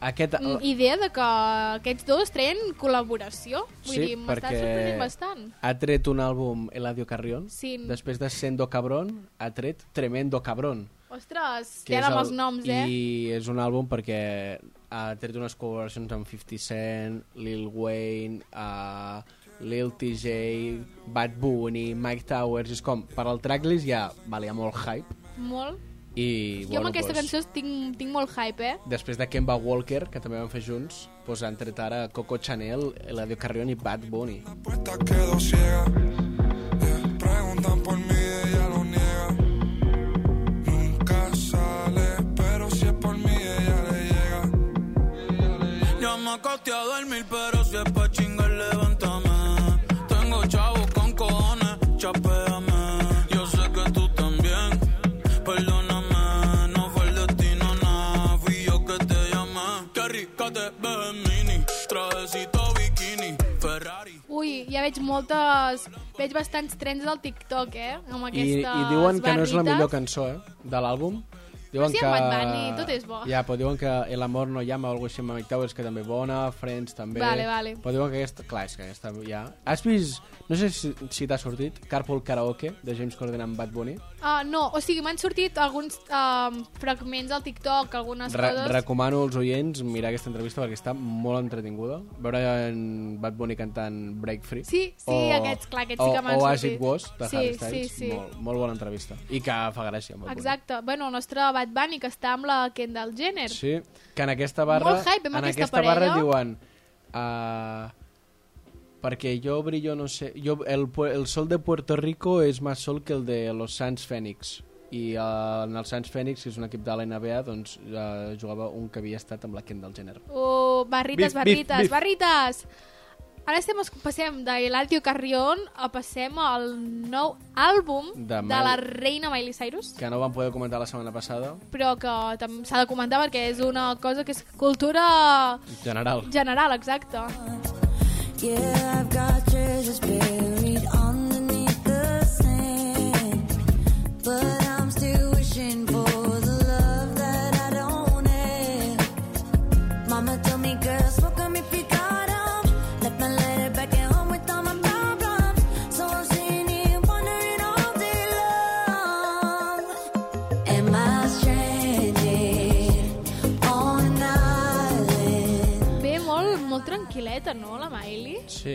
A: Aquest,
C: mm, idea de que aquests dos treien col·laboració. Vull dir, m'està sorprenent bastant.
A: ha tret un àlbum Eladio Carrión,
C: Sí.
A: després de Sendo Cabrón, ha tret Tremendo Cabrón.
C: Ostres,
A: que
C: tela
A: és
C: amb els noms, eh?
A: I és un àlbum perquè ha tret unes col·laboracions amb 50 Cent, Lil Wayne, uh, Lil TJ, Bad Bunny, Mike Towers... És com, per al tracklist ja valia molt hype.
C: Molt.
A: I,
C: Jo
A: bueno,
C: amb aquesta
A: doncs,
C: cançó tinc, tinc molt hype, eh?
A: Després de Kemba Walker, que també van fer junts, doncs han tret ara Coco Chanel, Eladio Carrion i Bad Bunny.
D: puerta quedó ciega. Eh, preguntan por mí, ella lo niega. Nunca sale, pero si es por mí, ella le llega.
B: Ya me acosté a dormir, pero si es pa' chingar, levántame. Tengo chavos con cojones, chapéame. Yo sé que tú también, perdóname. No fue el destino, nada, fui yo que te llamé. Qué rica te ves en mini, trajecito bikini, Ferrari.
C: Ui, ja veig moltes... Veig bastants trens del TikTok, eh? Amb
A: I,
C: aquestes
A: I diuen que no és la
C: barrites.
A: millor cançó eh, de l'àlbum. Diuen
C: si
A: que...
C: amb Bad Bunny tot és bo.
A: Ja, però diuen que El amor no llama o alguna així amb Mike Towers, que també bona, Friends també...
C: Vale, vale.
A: Però diuen que aquesta... Clar, és que aquesta ja... Has vist... No sé si, si t'ha sortit Carpool Karaoke, de James Corden amb Bad Bunny.
C: Ah, no, o sigui, m'han sortit alguns um, fragments al TikTok, algunes
A: Re
C: coses.
A: recomano als oients mirar aquesta entrevista perquè està molt entretinguda. Veure en Bad Bunny cantant Break Free.
C: Sí, sí, aquests, clar, aquests
A: o,
C: sí que m'han
A: O
C: sortit.
A: Acid Was, de
C: Sí,
A: Harry Styles.
C: sí, sí.
A: Molt, molt bona entrevista. I que fa gràcia. Bad Bunny.
C: Exacte. Bueno, el nostre Bad Bunny, que està amb la Kendall Jenner.
A: Sí, que en aquesta barra...
C: Molt hype
A: en
C: amb aquesta
A: aquesta barra
C: parella.
A: diuen... Uh, perquè jo brillo, no sé... Jo, el, pu- el sol de Puerto Rico és més sol que el de los Sants Fènix. I uh, en el Sants Fènix, que és un equip de la NBA, doncs uh, jugava un que havia estat amb la Kendall Jenner.
C: Oh, barrites,
A: Bif, bif,
C: barrites,
A: bif.
C: barrites! Ara estem, es- passem de Eladio Carrión a passem al nou àlbum
A: De
C: de,
A: Miley.
C: la reina Miley Cyrus,
A: Que no vam poder comentar la setmana passada.
C: però que tam- s'ha de comentar perquè és una cosa que és cultura
A: General.
C: general, exacte.
G: Yeah, I've got treasures buried underneath the sand. But I'm still wishing for the love that I don't have. Mama told me, girl, smoke 'em if you got 'em. Left my letter back at home with all my problems. So I'm sitting here wondering all day long. Am I stranded on an island?
C: Ve molt, molt tranquil·leta, no, la Miley?
A: Sí, i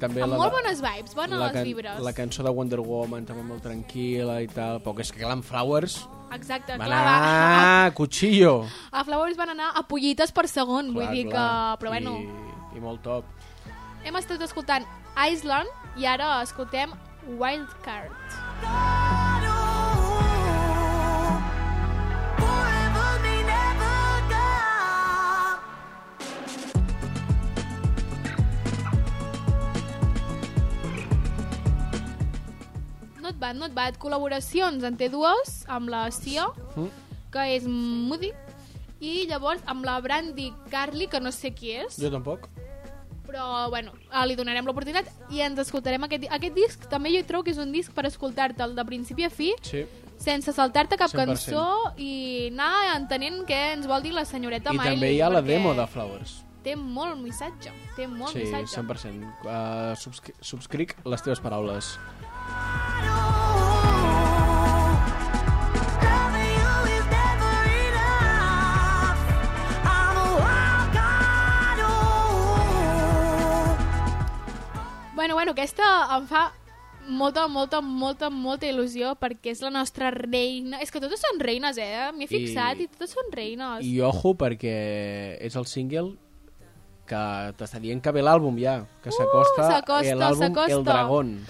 A: també
C: Amb
A: la...
C: molt bones vibes, bones
A: la, can-
C: vibres.
A: la cançó de Wonder Woman també molt tranquil·la i tal, però que és que Glam Flowers
C: Exacte,
A: va
C: clar, va.
A: anar a cuchillo.
C: A Flowers van anar a pollites per segon, vull
A: Clar,
C: dir que...
A: clar.
C: Però bueno,
A: I, i molt top.
C: hem estat escoltant Island i ara escoltem Wildcard. No et va, no et va. Col·laboracions en té dues, amb la Sia,
A: Mm.
C: que és Moody, i llavors amb la Brandy Carly, que no sé qui és.
A: Jo tampoc.
C: Però, bueno, eh, li donarem l'oportunitat i ens escoltarem aquest, di- aquest disc. També jo hi trobo que és un disc per escoltar-te'l de principi a fi,
A: Sí.
C: sense saltar-te cap
A: 100%.
C: cançó i anar entenent què ens vol dir la senyoreta
A: I
C: Miley.
A: també hi ha la
C: perquè
A: demo de Flowers.
C: Té molt missatge, té molt
A: Sí,
C: missatge.
A: 100%. Uh, subscri subscric les teves paraules.
H: Loving you is never enough. I'm a wild card, ooh.
C: Bueno, bueno, aquesta em fa molta, molta, molta, molta il·lusió perquè és la nostra reina. És que totes són reines, eh? M'hi he fixat
A: I-
C: i, i totes són reines.
A: I ojo, perquè és el single que t'està dient que ve l'àlbum ja, que s'acosta
C: Uh, s'acosta,
A: eh, l'àlbum
C: s'acosta.
A: El Dragón.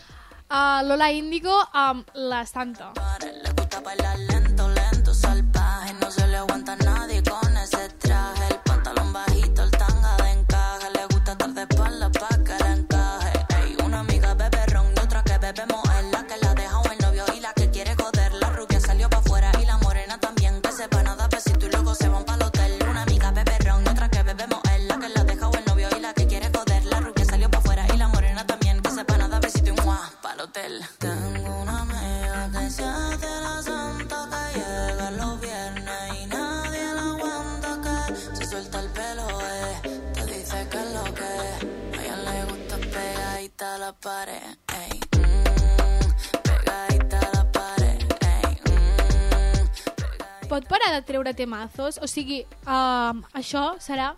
C: Uh, Lola Índigo amb La Santa.
I: Le gusta bailar lento, lento, salvaje. No se le aguanta a nadie con ese traje. El pantalón bajito, el tanga de encaje. Le gusta estar de espalda pa' que la encaje. Ey, una amiga bebe ron y otra que bebemos es la que la deja o el novio y la que quiere joder. La rubia salió pa' afuera y la morena también. Que se van a dar besito y luego se van pa'l hotel. Una amiga bebe ron y otra que bebemos es la que la deja o el novio y la que quiere joder. La rubia salió pa' afuera y la morena también. Que se van a dar besito y ¡mua! pa'l hotel. Tengo una amiga que se hace la santa que llega los viernes y nadie la aguanta que se suelta el pelo, eh. Te dice que es lo que a ella le gusta pegadita a la pared, ey. Mm, pegadita a la pared, ey. Mm,
C: Pot parar de treure temazos? O sigui, um, això serà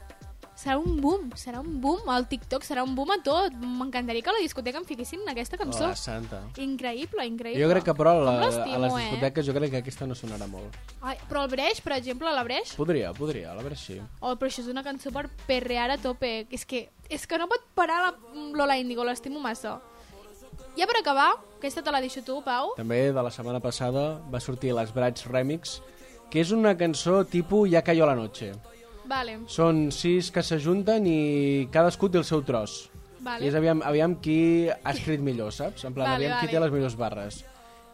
C: serà un boom, serà un boom al TikTok, serà un boom a tot. M'encantaria que a la discoteca em fiquessin aquesta cançó.
A: La Santa.
C: Increïble, increïble.
A: Jo crec que, però, la,
C: Com
A: a
C: l'estimo,
A: les discoteques jo crec que aquesta no sonarà molt.
C: Eh? Ai, però el Breix, per exemple, la Breix,
A: Podria, podria, a la veure sí.
C: Oh, però això és una cançó per perrear a tope. És que, és que no pot parar la Lola Índigo, l'estimo massa. Ja per acabar, aquesta te la deixo tu, Pau.
A: També de la setmana passada va sortir les Brats Remix, que és una cançó tipus Ja cayó la noche.
C: Vale,
A: Són sis que s'ajunten i cadascú té el seu tros.
C: Vale.
A: I és aviam, aviam qui ha escrit millor, saps? En plan,
C: Vale,
A: aviam qui
C: vale.
A: té les millors barres.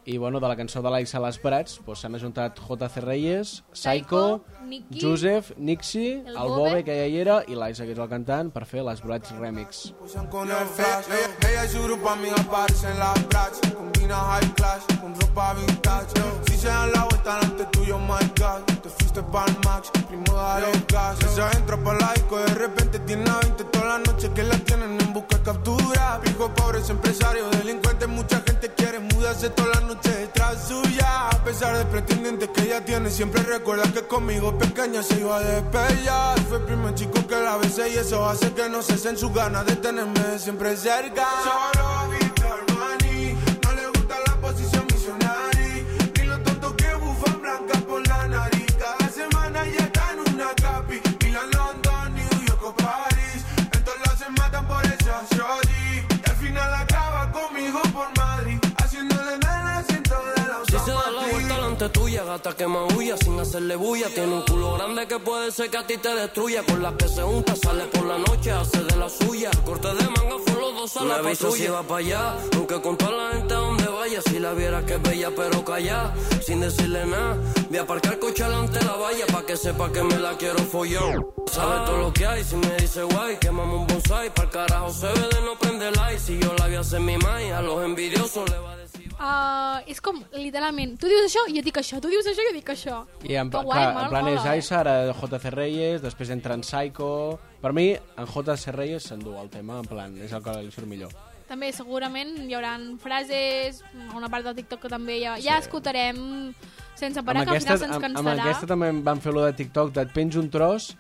A: I, bueno, de la cançó de l'Aixa Les Prats doncs, s'han ajuntat JC Reyes, Psycho,
C: Psycho, Nicky,
A: Josef, Nixi, el,
C: el
A: Bobe,
C: Bobe,
A: que ja hi era, i l'Aixa, que és el cantant, per fer les Brats Remix.
J: Usan con el flash Ella, ella y su grupo amiga parecen las brats Combina high class con ropa vintage Si se dan la vuelta delante tuyo, oh my God Te fuiste pa'l max, primo dale gas Esa entra pa' la disco, de repente tiene a 20 Todas las noches que la tienen en busca de captura Pico pobres empresarios, delincuentes Mucha gente quiere mudarse todas las noches detrás suya A pesar del pretendiente que ella tiene Siempre recuerda que conmigo pequeña se iba a despejar Fue el primer chico que la besé Y eso hace que no cesen sus ganas de tenerme siempre cerca Solo Víctor Maní No le gusta la posición misionari Ni lo tonto que bufan blanca por la nariz Cada semana ya está en una capi Y la London, New York o París Entonces se matan por esa shorty Y al final acaba conmigo por Madrid Haciéndole nada, siento de la
I: Si se da la vuelta delante tuya, gata que maulla sin hacerle bulla. Tiene un culo grande que puede ser que a ti te destruya. Con las que se unta, sale por la noche, hace de la suya. Corte de manga, fue los dos a la patrulla. si va para allá, aunque con toda la gente a donde vaya. Si la vieras que es bella, pero calla, sin decirle nada. Voy a aparcar coche delante la valla, pa' que sepa que me la quiero follar. Sabe todo lo que hay, si me dice guay, quemamos un bonsai. Para carajo se ve de no prender like. Si yo la vi hacer mi mai, a los envidiosos le va a decir.
C: uh, és com, literalment, tu dius això, jo dic això, tu dius això, jo dic això.
A: I en,
C: Que
A: clar,
C: mola,
A: en plan és
C: mola, eh?
A: Aixa, ara JC Reyes, després entra en Psycho... Per mi, en JC Reyes s'endú el tema, en plan, és el que li surt millor.
C: També segurament hi haurà frases, una part del TikTok que també ja, ja escoltarem sense parar,
A: Amb
C: que al final
A: amb-
C: se'ns
A: amb
C: cansarà.
A: aquesta també van fer lo de TikTok, de et penjo un tros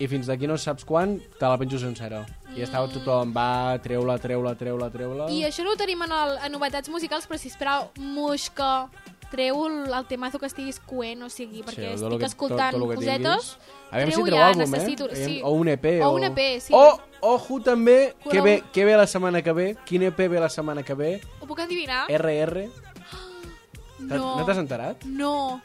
A: i fins d'aquí no saps quan te la penjo sencera. I estava tothom, va, treu-la, treu-la, treu-la, treu-la...
C: Mm. I això no ho tenim en, el, en novetats musicals, però sisplau, Muixca, treu el, el temazo que estiguis coent, o sigui, perquè
A: tot lo
C: sí, estic
A: que-
C: que, escoltant
A: tot- tot lo que
C: cosetes,
A: tinguis. Aviam si
C: treu
A: treu
C: ja,
A: àlbum, eh?
C: necessito...
A: Aviam-
C: sí.
A: o un EP,
C: O un EP, sí.
A: O, ojo, també, que
C: Col·labor-
A: ve, que ve la setmana que ve, quin EP ve la setmana que ve,
C: Ho puc endivinar?
A: RR, T'ha-
C: no.
A: no t'has enterat?
C: No.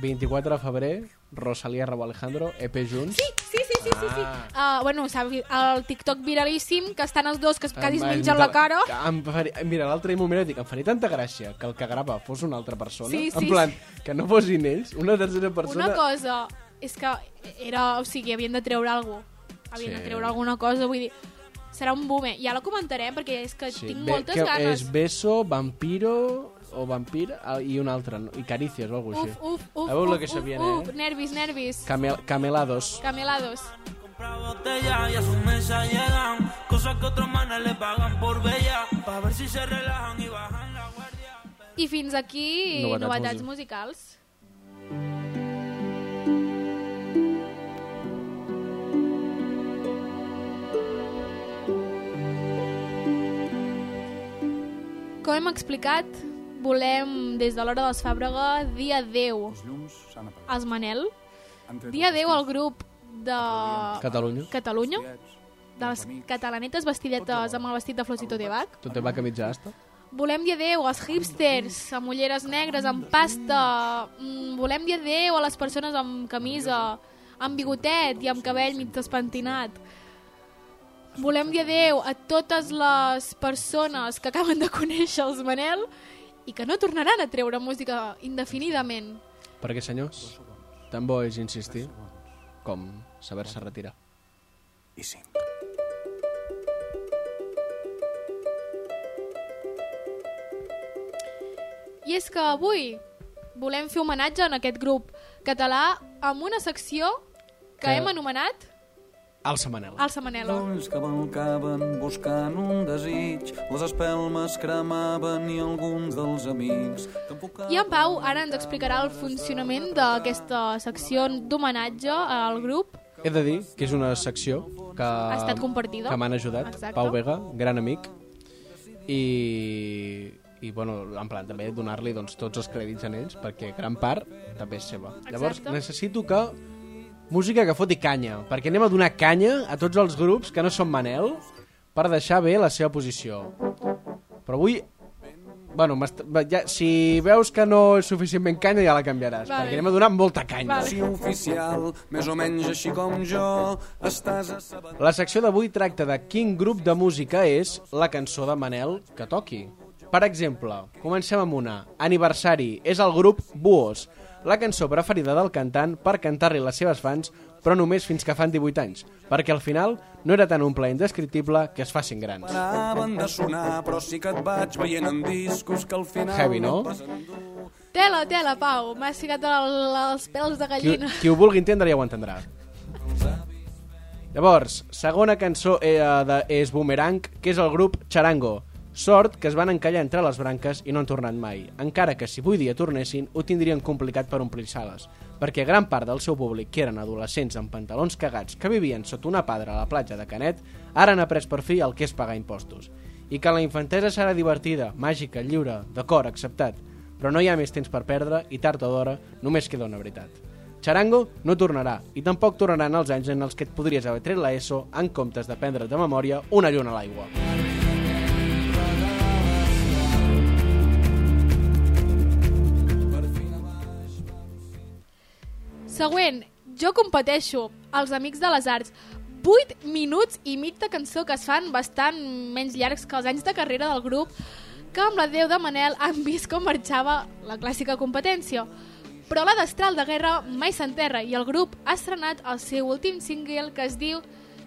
A: 24 de febrer, Rosalía Rabo Alejandro, EP junts.
C: Sí, sí, sí, sí, sí. sí.
A: Ah.
C: Uh, bueno, s'ha vi- el TikTok viralíssim, que estan els dos, que quasi es
A: Em- em-
C: mengen la cara.
A: Ah, que Em faria, mira, l'altre dia m'ho mira i dic, em faria tanta gràcia que el que grava fos una altra persona.
C: Sí,
A: en
C: sí,
A: plan, que no fossin ells, una tercera persona.
C: Una cosa és que era... O sigui, havien de treure alguna cosa. Havien
A: Sí.
C: de treure alguna cosa, vull dir... Serà un boom, eh? Ja la comentarem perquè és que
A: Sí,
C: tinc
A: bé,
C: moltes
A: que
C: ganes.
A: És Beso, Vampiro o Vampir ah, i un altre, no? i Caricias o alguna cosa
C: Uf,
A: així.
C: uf, uf,
A: A veure
C: uf,
A: lo que se
C: uf,
A: viene,
C: uf,
A: eh?
C: nervis, nervis.
A: Camel- camelados.
C: Camelados.
K: Compra botella y a su mesa llegan cosas que otros manes le pagan por bella. Para ver si se relajan y bajan la guardia.
C: I fins aquí
A: Novetats
C: novetats, novetats
A: music-
C: musicals. Com hem explicat, volem, des de l'hora dels Fàbrega, dir adeu als Manel, dir adeu al grup de
A: Catalunya.
C: Catalunya, de les catalanetes vestidetes amb el vestit de flors i tot de bac,
A: Tot em va camitzar hasta.
C: Volem dir adeu als hipsters, amb ulleres negres, amb pasta. Mm, volem dir adeu a les persones amb camisa, amb bigotet i amb cabell mig despentinat. Volem dir adeu a totes les persones que acaben de conèixer els Manel i que no tornaran a treure música indefinidament.
A: Perquè, senyors, tan bo és insistir com saber-se retirar.
B: I cinc.
C: I és que avui volem fer homenatge en aquest grup català amb una secció que,
A: Que-
C: hem anomenat
A: Alça Manel.
C: Alça Manel.
L: Ells cavalcaven buscant un desig, les espelmes cremaven i alguns dels amics. Tampoc
C: I en Pau ara ens explicarà el funcionament d'aquesta secció d'homenatge al grup.
A: He de dir que és una secció que... Ha
C: estat compartida.
A: Que m'han ajudat.
C: Exacte.
A: Pau Vega, gran amic. I, i bueno, en plan, també donar-li doncs, tots els crèdits a ells, perquè gran part també és seva. Exacte. Llavors, necessito que música que foti canya, perquè anem a donar canya a tots els grups que no són Manel per deixar bé la seva posició. Però avui... Bueno, m'est- va, ja, si veus que no és suficientment canya, ja la canviaràs,
L: Vale.
A: vale. perquè anem a donar molta canya.
L: Si oficial, més o menys així com jo, estàs a saber...
A: La secció d'avui tracta de quin grup de música és la cançó de Manel que toqui. Per exemple, comencem amb una. Aniversari és el grup Buos, la cançó preferida del cantant per cantar-li les seves fans, però només fins que fan 18 anys, perquè al final no era tan un plaer indescriptible que es facin grans.
L: Paraven de sonar, però sí que et vaig veient en discos que al final...
A: Heavy, no?
C: Tela, tela, Pau, m'has ficat el, els pèls de
A: Qui,
C: gallina.
A: qui ho vulgui entendre ja ho entendrà. Llavors, segona cançó eh, de, és Boomerang, que és el grup Charango. Sort que es van encallar entre les branques i no han tornat mai. Encara que si avui dia tornessin, ho tindrien complicat per omplir sales, perquè gran part del seu públic, que eren adolescents amb pantalons cagats que vivien sota una padra a la platja de Canet, ara han après per fi el que és pagar impostos. I que la infantesa serà divertida, màgica, lliure, d'acord, acceptat. Però no hi ha més temps per perdre i tard o d'hora només queda una veritat. Charango no tornarà, i tampoc tornaran els anys en els que et podries haver tret la ESO en comptes de prendre de memòria una lluna a l'aigua.
C: Següent, jo competeixo, els Amics de les Arts. 8 minuts i mig de cançó que es fan bastant menys llargs que els anys de carrera del grup, que amb la Déu de Manel han vist com marxava la clàssica competència. Però la destral de guerra mai s'enterra i el grup ha estrenat el seu últim single que es diu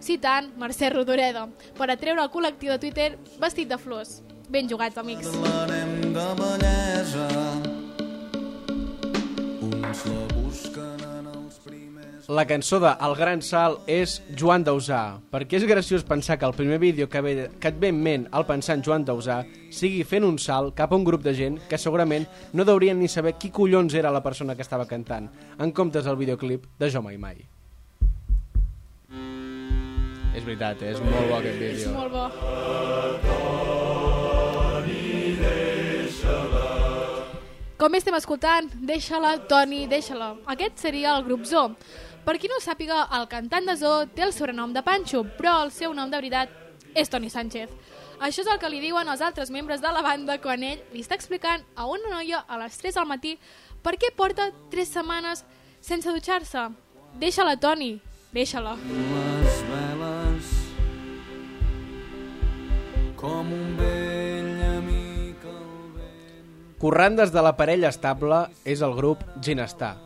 C: citant Mercè Rodoreda per atreure el col·lectiu de Twitter vestit de flors. Ben jugats, amics.
L: Parlem de bellesa, uns la busquen en els primers...
A: La cançó de El Gran Salt és Joan Dausà, perquè és graciós pensar que el primer vídeo que, ve, que et ve en ment al pensar en Joan Dausà sigui fent un salt cap a un grup de gent que segurament no deurien ni saber qui collons era la persona que estava cantant, en comptes del videoclip de Jo Mai Mai. És veritat, eh? és molt bo aquest vídeo.
C: És molt bo. Com estem escoltant, deixa-la, Toni, deixa-la. Aquest seria el grup Zoo. Per qui no ho sàpiga, el cantant de Zoo té el sobrenom de Pancho, però el seu nom de veritat és Toni Sánchez. Això és el que li diuen els altres membres de la banda quan ell li està explicant a una noia a les 3 del matí per què porta 3 setmanes sense dutxar-se. Deixa-la, Toni, deixa-la.
L: les veles com un vell amic al vent.
A: Corrandes de la parella estable és el grup Ginestar,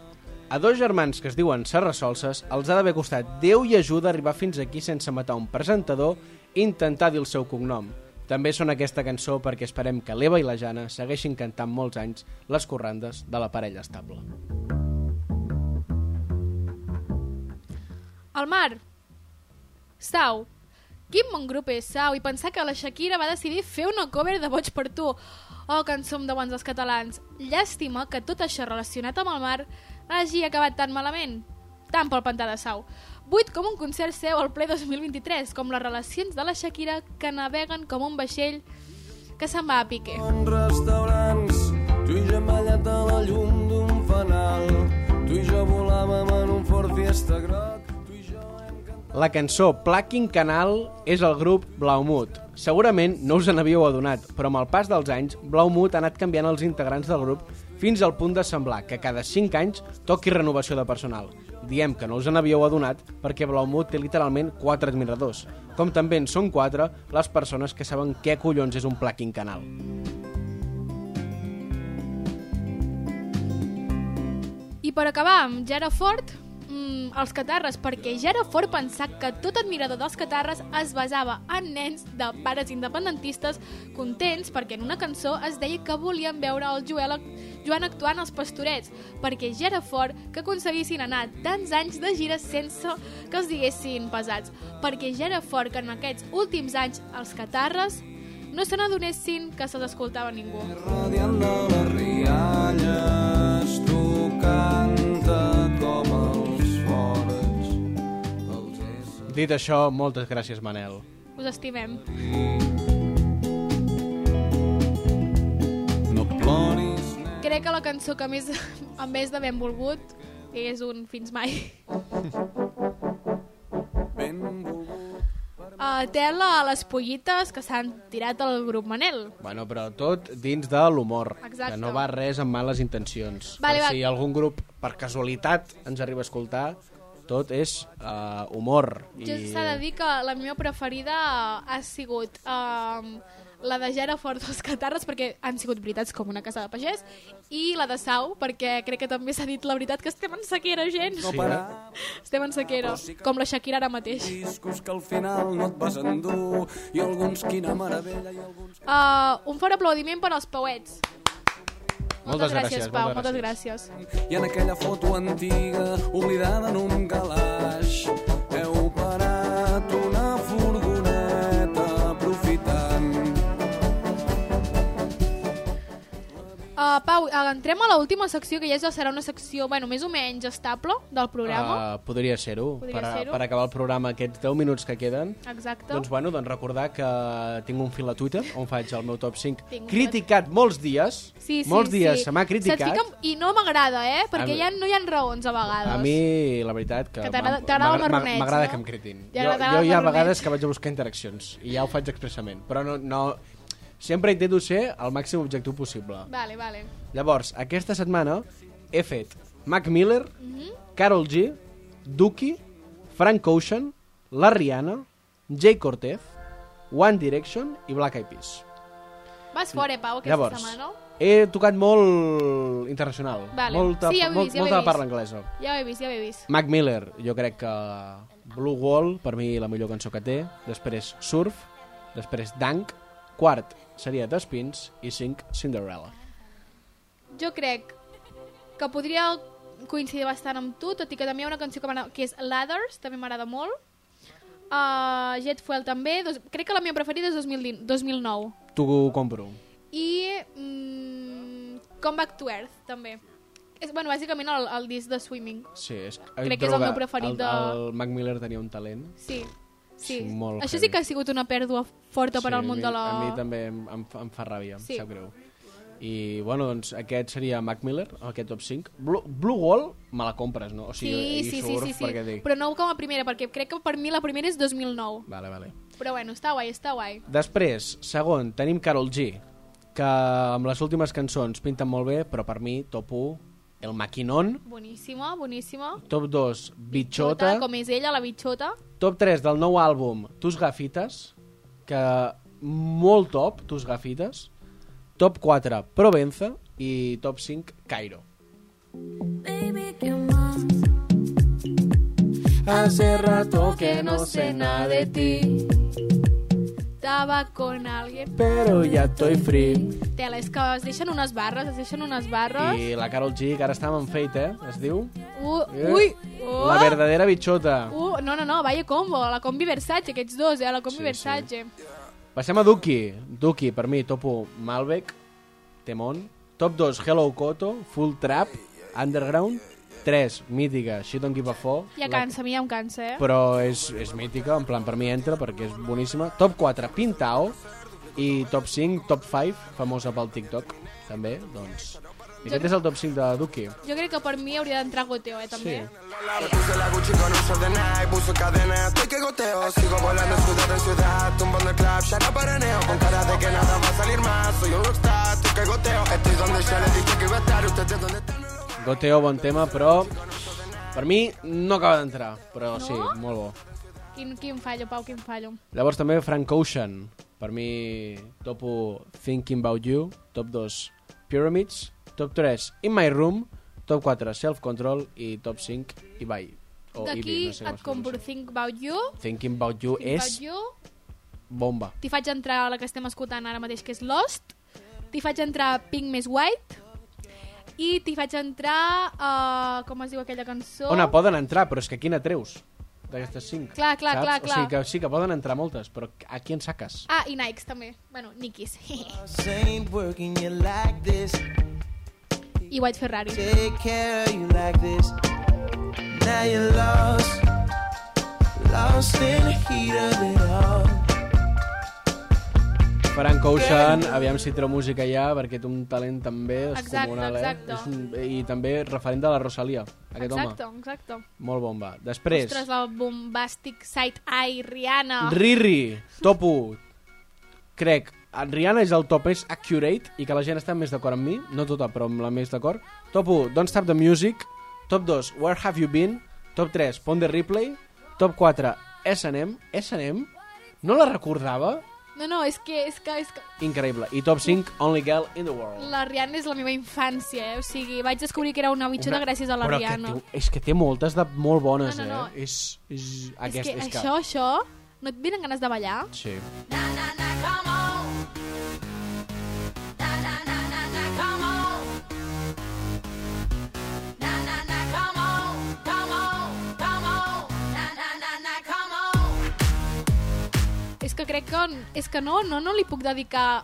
A: A dos germans que es diuen Serrasolses els ha d'haver costat Déu i ajuda arribar fins aquí sense matar un presentador i intentar dir el seu cognom. També són aquesta cançó perquè esperem que l'Eva i la Jana segueixin cantant molts anys les corrandes de la parella estable.
C: El mar. Sau. Quin bon grup és, Sau, i pensar que la Shakira va decidir fer una cover de Boig per tu. Oh, que en som de bons els catalans. Llàstima que tot això relacionat amb el mar hagi acabat tan malament. Tant pel pantà de Sau. Buit com un concert seu al ple 2023, com les relacions de la Shakira que naveguen com un vaixell que se'n va a pique.
L: en restaurants, tu i jo mallat a la llum d'un fanal, tu i jo volàvem en un Ford Fiesta groc.
A: La cançó Plucking Canal és el grup Blaumut. Segurament no us n'havíeu adonat, però amb el pas dels anys, Blaumut ha anat canviant els integrants del grup fins al punt de semblar que cada 5 anys toqui renovació de personal. Diem que no us n'havíeu adonat perquè Blaumut té literalment 4 admiradors, com també en són 4 les persones que saben què collons és un Plucking Canal.
C: I per acabar amb Jara Ford, mmm, els catarres, perquè Jara Ford pensà que tot admirador dels catarres es basava en nens de pares independentistes contents perquè en una cançó es deia que volien veure el Joel, Joan actuant als pastorets, perquè Jara Ford que aconseguissin anar tants anys de gira sense que els diguessin pesats, perquè Jara Ford que en aquests últims anys els catarres no se n'adonessin que se'ls escoltava ningú.
L: radiant de les rialles, tu canta com els forats.
A: Dit això, moltes gràcies, Manel.
C: Us estimem.
L: No ploris,
C: Crec que la cançó que més, *laughs* a més de ben volgut és un Fins *laughs* mai. Uh, tela a les pollites que s'han tirat al grup Manel.
A: Bueno, però tot dins de l'humor,
C: Exacte.
A: que no va res amb males intencions.
C: Vale,
A: per
C: va.
A: si algun grup, per casualitat, ens arriba a escoltar, tot és uh, humor.
C: Jo s'ha de dir que la meva preferida ha sigut um, la de Jara Fort dels Catarres, perquè han sigut veritats com una casa de pagès, i la de Sau, perquè crec que també s'ha dit la veritat que estem en sequera, gent.
L: No Sí, parar.
C: Estem en sequera, com la Shakira ara mateix.
L: discos que al final no et vas endur, i alguns quina meravella, i alguns...
C: Uh, un fort aplaudiment per als pauets.
L: Moltes
C: gràcies, Pau. Moltes gràcies.
L: I en aquella foto antiga, oblidada en un calaix, heu parat una furgoneta aprofitant
C: Uh, Pau, uh, entrem a l'última secció, que ja és- serà una secció, bueno, més o menys estable del programa.
A: Uh, podria ser-ho,
C: Podria
A: per, a-
C: ser-ho.
A: per acabar el programa aquests 10 minuts que queden.
C: Exacte.
A: Doncs, bueno, doncs recordar que tinc un fil a Twitter on faig el meu top 5
C: Tinc un
A: criticat molts dies,
C: Sí, sí,
A: molts dies
C: sí.
A: se m'ha criticat.
C: Se't fica... I no m'agrada, eh? Perquè
A: mi-
C: ja no hi ha raons a vegades.
A: A mi, la veritat, que,
C: Que t'agrada- t'agrada el
A: m'agrada
C: marroneig,
A: m'agrada
C: no?
A: que em critin. Jo,
C: T'agrada
A: jo
C: el
A: hi ha
C: marroneig.
A: vegades que vaig a buscar interaccions, i ja ho faig expressament, però no, no... Sempre intento ser el màxim objectiu possible.
C: Vale, vale.
A: Llavors, aquesta setmana he fet Mac Miller,
C: Mhm.
A: Carol G, Duki, Frank Ocean, la Rihanna, Jay Cortez, One Direction i Black Eyed Peas.
C: Vas fora, eh, Pau, aquesta
A: Llavors,
C: setmana, no?
A: he tocat molt internacional.
C: Vale.
A: Molta,
C: sí, ja ho he
A: molt-
C: vist, ja ho he
A: molta de
C: vist.
A: parla anglesa.
C: Ja ho he vist, ja ho he vist.
A: Mac Miller, jo crec que Blue Wall, per mi la millor cançó que té, després Surf, després Dank, quart seria The Spins i cinc Cinderella.
C: Jo crec que podria coincidir bastant amb tu, tot i que també hi ha una canció que, m'agrada- que és Ladders, també m'agrada molt. Uh, Jet Fuel també. Dos, crec que la meva preferida és 2010, 2009.
A: T'ho compro.
C: I mm, Come Back to Earth, també. És, bueno, bàsicament el, el disc de Swimming.
A: Sí, és,
C: Crec que és el meu preferit
A: el,
C: de-
A: El Mac Miller tenia un talent.
C: Sí, sí.
A: Sí, molt
C: Això
A: heavy.
C: sí que ha sigut una pèrdua forta per
A: Sí,
C: al
A: a
C: món
A: mi,
C: de la...
A: A mi també em, em, fa- em fa ràbia,
C: Sí.
A: em sap greu. I, bueno, doncs aquest seria Mac Miller, aquest top 5. Blue, Blue Wall me la compres, no? O sigui, i surf, perquè dic...
C: Però no com a primera, perquè crec que per mi la primera és 2009.
A: Vale, vale.
C: Però bueno, està guai, està guai.
A: Després, segon, tenim Carol G, que amb les últimes cançons pinten molt bé, però per mi, top 1, El Maquinon,
C: Boníssima, boníssima. Tota,
A: top 2, Bitxota,
C: Com és ella, la bitxota.
A: top 3 del nou àlbum, Tus Gafites, que molt top, Tus Gafites, top 4, Provenza, i top 5, Cairo.
H: Baby, qué mal.
M: Hace rato que no sé nada de ti,
C: Estaba con alguien.
A: pero ya estoy free.
C: Tela, és que es deixen unes barres, es deixen unes barres.
A: I la Carol G, que ara està amb en Fate, eh? Es diu?
C: Uh,
A: Eh?
C: ui! Oh.
A: La verdadera bitxota.
C: Uh, no, no, no, vaya combo, la combi Versace, aquests dos, eh, la combi sí, Versace. Sí.
A: Passem a Duki. Duki, per mi, topo Malbec, Temon. Top 2, Hello Koto, Full Trap, Underground. 3, mítica, She Don't Give a Fo.
C: Ja cansa, a mi ja em cansa, eh?
A: Però és, és mítica, en plan, per mi entra, perquè és boníssima. Top 4, Pintao. I top 5, top 5, famosa pel TikTok, també, doncs. I aquest és el top 5 de Duki.
C: Jo crec que per mi hauria d'entrar goteo, eh, també. Sí.
G: Le puse la Gucci con un short de Nike, puso cadena, estoy que goteo. Sigo volando ciudad en ciudad, tumbando el club, ya no paraneo. Con cara de que nada va a salir más, soy un rockstar, estoy que goteo. Estoy donde yo les dije que iba a estar, ustedes donde están.
A: Goteo, bon tema, però... Per mi no acaba d'entrar, però
C: No?
A: sí, molt bo.
C: Quin, quin fallo, Pau, quin fallo.
A: Llavors també Frank Ocean. Per mi topo Thinking About You, top 2 Pyramids, top 3 In My Room, top 4 Self Control i top 5 Ibai. O Ibi,
C: D'aquí
A: no sé com
C: et
A: es
C: compro Think About You,
A: pronuncia. Thinking About You
C: Think
A: és
C: About You,
A: bomba.
C: t'hi faig entrar la que estem escoltant ara mateix, que és Lost, t'hi faig entrar Pink Miss White, i t'hi faig entrar... Uh, com es diu aquella cançó?
A: On poden entrar, però és que a quina treus? D'aquestes 5.
C: Clar, clar,
A: saps?
C: clar, clar.
A: O sigui que sí que poden entrar moltes, però a qui en saques?
C: Ah, i Nikes també. Bueno, Nikis.
N: ain't working you like this.
C: *laughs* I White Ferrari.
N: Take care of you like this. Now you're lost, lost in the heat of it all.
A: Frank Ocean, aviam si treu música ja, perquè té un talent també descomunal,
C: Exacte, exacte.
A: eh? És un, I també referent de la Rosalia, aquest
C: exacte,
A: home.
C: exacte.
A: Molt bomba. Després,
C: Ostres, la bombastic side eye Rihanna.
A: Riri, top 1. Crec, en Rihanna és el top, és accurate, i que la gent està més d'acord amb mi, no tota, però amb la més d'acord. Top 1, Don't Stop the Music. Top 2, Where Have You Been. Top 3, Pond the Replay. Top 4, S&M. S&M? No la recordava?
C: No, no, és que, és que, és que
A: Increïble. I top 5, Only Girl in the World.
C: la Rihanna és la meva infància, eh? O sigui, vaig descobrir que era una bitxota gràcies a la
A: Però
C: Rihanna.
A: Que té, és que té moltes de molt bones,
C: No, no, no.
A: eh? És, és,
C: és
A: aquest,
C: que això, això, no et venen ganes de ballar?
A: Sí.
C: És que crec que, és que no, no, no li puc dedicar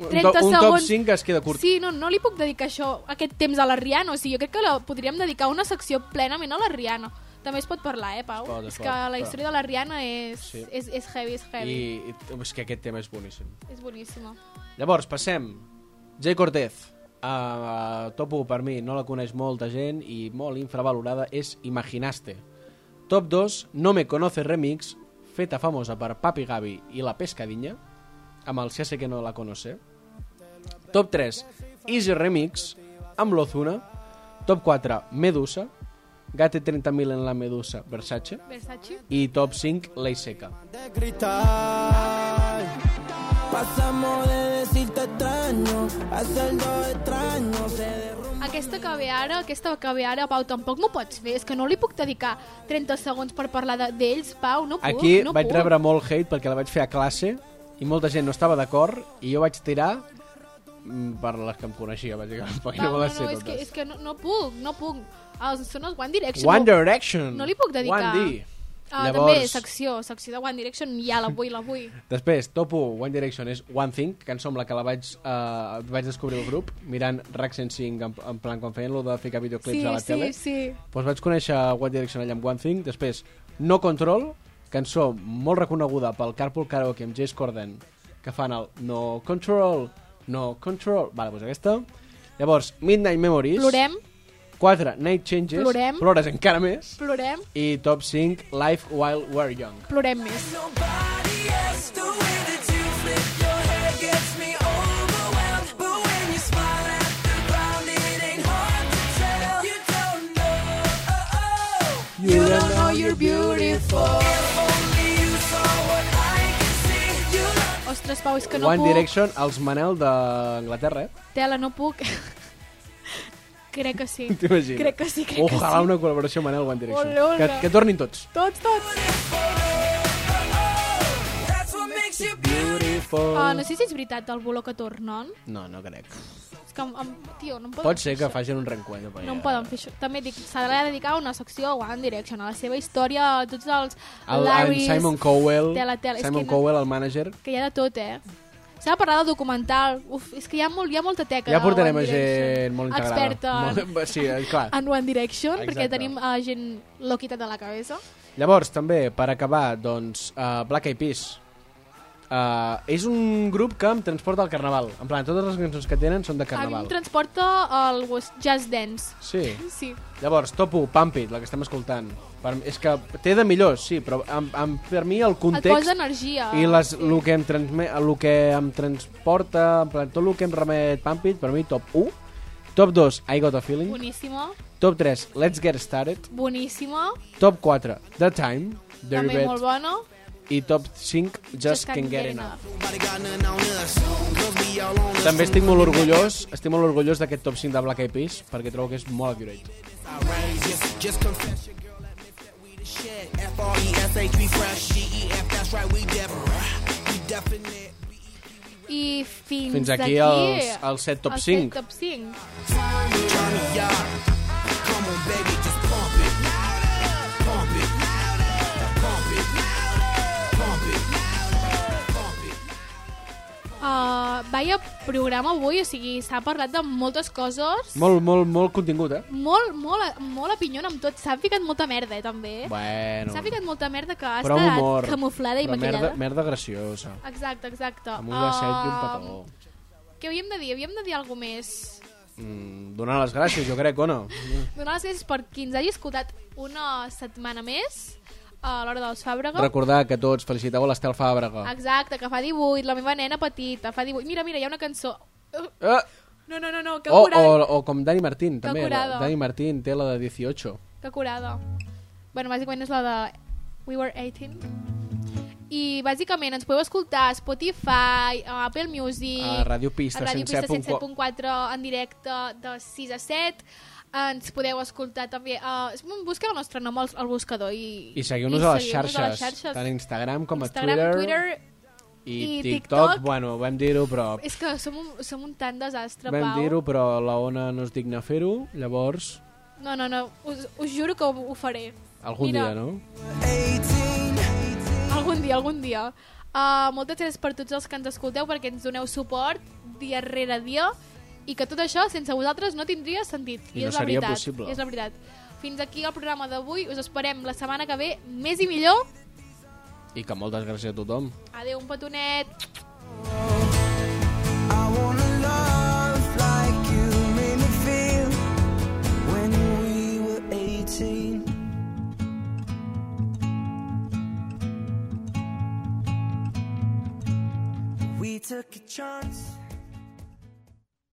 A: Un
C: 30
A: to- un top
C: segons.
A: 5 que es queda curt.
C: Sí, no, no li puc dedicar això, aquest temps a la Rihanna. O sigui, jo crec que la podríem dedicar una secció plenament a la Rihanna. També es pot parlar, eh, Pau?
A: Es pot, es
C: és
A: pot,
C: que
A: es
C: la
A: pot.
C: història de la Rihanna és,
A: Sí.
C: és, és heavy, és
A: I,
C: heavy.
A: I és que aquest tema és boníssim.
C: És boníssima.
A: Llavors, passem. Jay Cortez. Uh, top 1 per mi, no la coneix molta gent i molt infravalorada, és Imaginaste. Top 2, No me conoces remix, feta famosa per Papi Gavi i La Pescadinha, amb el Se hace que no la conoce. Top 3, Easy Remix, amb l'Ozuna. Top 4, Medusa, Gate 30.000 en la Medusa, Versace.
C: Versace.
A: I top 5, Ley Seca.
D: de cristal. Pasamos de decirte extraño a hacerlo extraño. Se derrumba.
C: Aquesta que ve ara, aquesta que ve ara, Pau, tampoc m'ho pots fer. És que no li puc dedicar 30 segons per parlar de- d'ells, Pau. No puc,
A: Aquí
C: no
A: vaig
C: puc.
A: rebre molt hate perquè la vaig fer a classe i molta gent no estava d'acord i jo vaig tirar mm, per les que em coneixia, bàsicament, perquè
C: Pau,
A: no
C: no,
A: me les
C: no,
A: sé
C: és que,
A: totes.
C: és que no, no puc, no puc. Els són els One Direction.
A: One
C: no-
A: Direction.
C: No li puc dedicar.
A: One D.
C: Ah,
A: Llavors-
C: També, secció, secció de One Direction, ja la vull, la vull.
A: Després, top 1, One Direction és One Thing, cançó amb la que la vaig, uh, vaig descobrir el grup, mirant Rack 105, en, en plan quan feien lo de ficar videoclips
C: Sí,
A: a la
C: sí,
A: tele.
C: sí.
A: Doncs vaig conèixer One Direction allà amb One Thing. Després, No Control, cançó molt reconeguda pel Carpool Karaoke amb Jace Corden, que fan el No Control, No Control... Vale, doncs aquesta. Llavors, Midnight Memories.
C: Plorem,
A: 4, Night Changes.
C: Plorem.
A: Plores encara més.
C: plorem,
A: I top 5, Life While We're Young.
C: plorem més.
M: You don't know you're beautiful.
C: Ostres, Pau, és que no
A: One
C: puc.
A: Direction, els Manel d'Anglaterra, eh?
C: Tela, no puc. *laughs* Crec que
M: *laughs*
C: sí.
A: *laughs* T'imagines?
C: Crec que sí, crec
A: Ojalà
C: que sí.
A: una col·laboració amb Manel One Direction.
C: Ole, ole.
A: Que, que tornin tots.
C: Tots, tots.
O: That's what makes you
A: Beautiful.
C: Uh, no sé si és veritat del Bolo que tornen.
A: No, no crec.
C: És que, um, tio, no em poden...
A: Pot ser que facin un reencuentro.
C: No em poden fer això. També dic, s'ha de dedicar una secció a One Direction, a la seva història, a tots
A: El,
C: els
A: en
C: Larrys,
A: Simon Cowell,
C: de la tele. És
A: Simon
C: que no-
A: Cowell, el mànager.
C: que hi ha de tot, eh? S'ha de parlar del documental. Uf, és que hi ha, molt, hi ha molta teca.
A: Ja
C: de
A: portarem
C: One
A: a gent
C: Direction.
A: molt integrada.
C: Experta en,
A: Molt, *laughs* sí, eh, clar.
C: en One Direction, Exacte. perquè
A: Exacte.
C: tenim uh, gent loquita de la cabeza.
A: Llavors, també, per acabar, doncs, uh, Black Eyed Peas. Uh, és un grup que em transporta al carnaval. En plan, totes les cançons que tenen són de
C: A mi em
A: carnaval.
C: transporta el West Jazz Dance.
A: Sí.
C: Sí.
A: Llavors, top 1, Pump It, la que estem escoltant. Per, és que té de millors, sí, però amb, amb, per mi el
C: Et posa
A: context
C: energia.
A: i les, el, que em transme, el que em transporta, en plan, tot el que em remet Pump It, per mi top 1. Top 2, I Got a Feeling.
C: Boníssima.
A: Top 3, Let's Get Started.
C: Boníssima.
A: Top 4, The Time, The
C: també molt
A: Rivet.
C: bona.
A: I top 5, Just,
C: Just
A: Can't
C: Can't Get
A: Get Enough. També estic molt orgullós, estic molt orgullós d'aquest top 5 de Black Eyed Peas, perquè trobo que és molt accurate.
O: Just confess your girl that we free the shit. F R E S H we fresh. G E F that's right we def. We definite.
C: I fins,
A: Fins aquí
C: aquí
A: els- els set top
C: els
A: cinc.
C: Set top 5.
O: Johnny Yard. Come on baby just pump it. Pump it. Pump it. Pump it.
C: Uh, vaya programa avui, o sigui, s'ha parlat de moltes coses.
A: Molt, molt, molt contingut, eh?
C: Molt, molt, molt a pinyon amb tot. S'ha ficat molta merda, eh, també.
A: Bueno.
C: S'ha ficat molta merda que ha
A: Però amb
C: estat
A: humor.
C: camuflada i
A: Però
C: maquillada.
A: Merda, merda graciosa.
C: Exacte, exacte.
A: Amb un glacet i un
C: Ah,
A: petó.
C: Què havíem de dir? Havíem de dir alguna més.
A: Mm, donar les gràcies, jo crec, o no?
C: Donar les gràcies per qui ens hagi escoltat una setmana més a l'hora dels Fàbrega.
A: Recordar que tots feliciteu a l'Estel Fàbrega.
C: Exacte, que fa 18, la meva nena petita, fa 18. Mira, mira, hi ha una cançó. Uh,
A: Ah!
C: No, no, no, no que
A: O, o,
C: curada.
A: o com Dani Martín,
C: Que
A: també.
C: curada.
A: La, Dani Martín té la de 18.
C: Que curada. Bueno, bàsicament és la de We Were 18. I bàsicament ens podeu escoltar a Spotify, a Apple Music,
A: A Ràdio Pista
C: a Ràdio Pista
A: 107.4.
C: 107.4 en directe de 6 a 7. Ens podeu escoltar també... A... Busqueu el nostre nom al, al buscador i...
A: I seguiu-nos
C: i
A: a les
C: seguiu-nos
A: xarxes,
C: a les xarxes.
A: tant a Instagram com a
C: Instagram, Twitter...
A: i,
C: i
A: TikTok.
C: TikTok.
A: Bueno, vam dir-ho, però...
C: És que som un, som un tant desastre,
A: Vam
C: Pau.
A: dir-ho, però la Ona no es digna fer-ho, llavors...
C: No, no, no, us, us juro que ho, ho faré.
A: Algun
C: Mira.
A: dia, no?
C: Algun dia, algun dia. Uh, moltes gràcies per tots els que ens escolteu, perquè ens doneu suport dia rere dia, i que tot això sense vosaltres no tindria sentit.
A: I no
C: és la
A: seria
C: veritat,
A: possible.
C: I és la veritat. Fins aquí el programa d'avui. Us esperem la setmana que ve més i millor.
A: I que moltes gràcies a tothom.
C: Adeu, un petonet.
O: I wanna love like you made me feel when we were 18. We took a chance.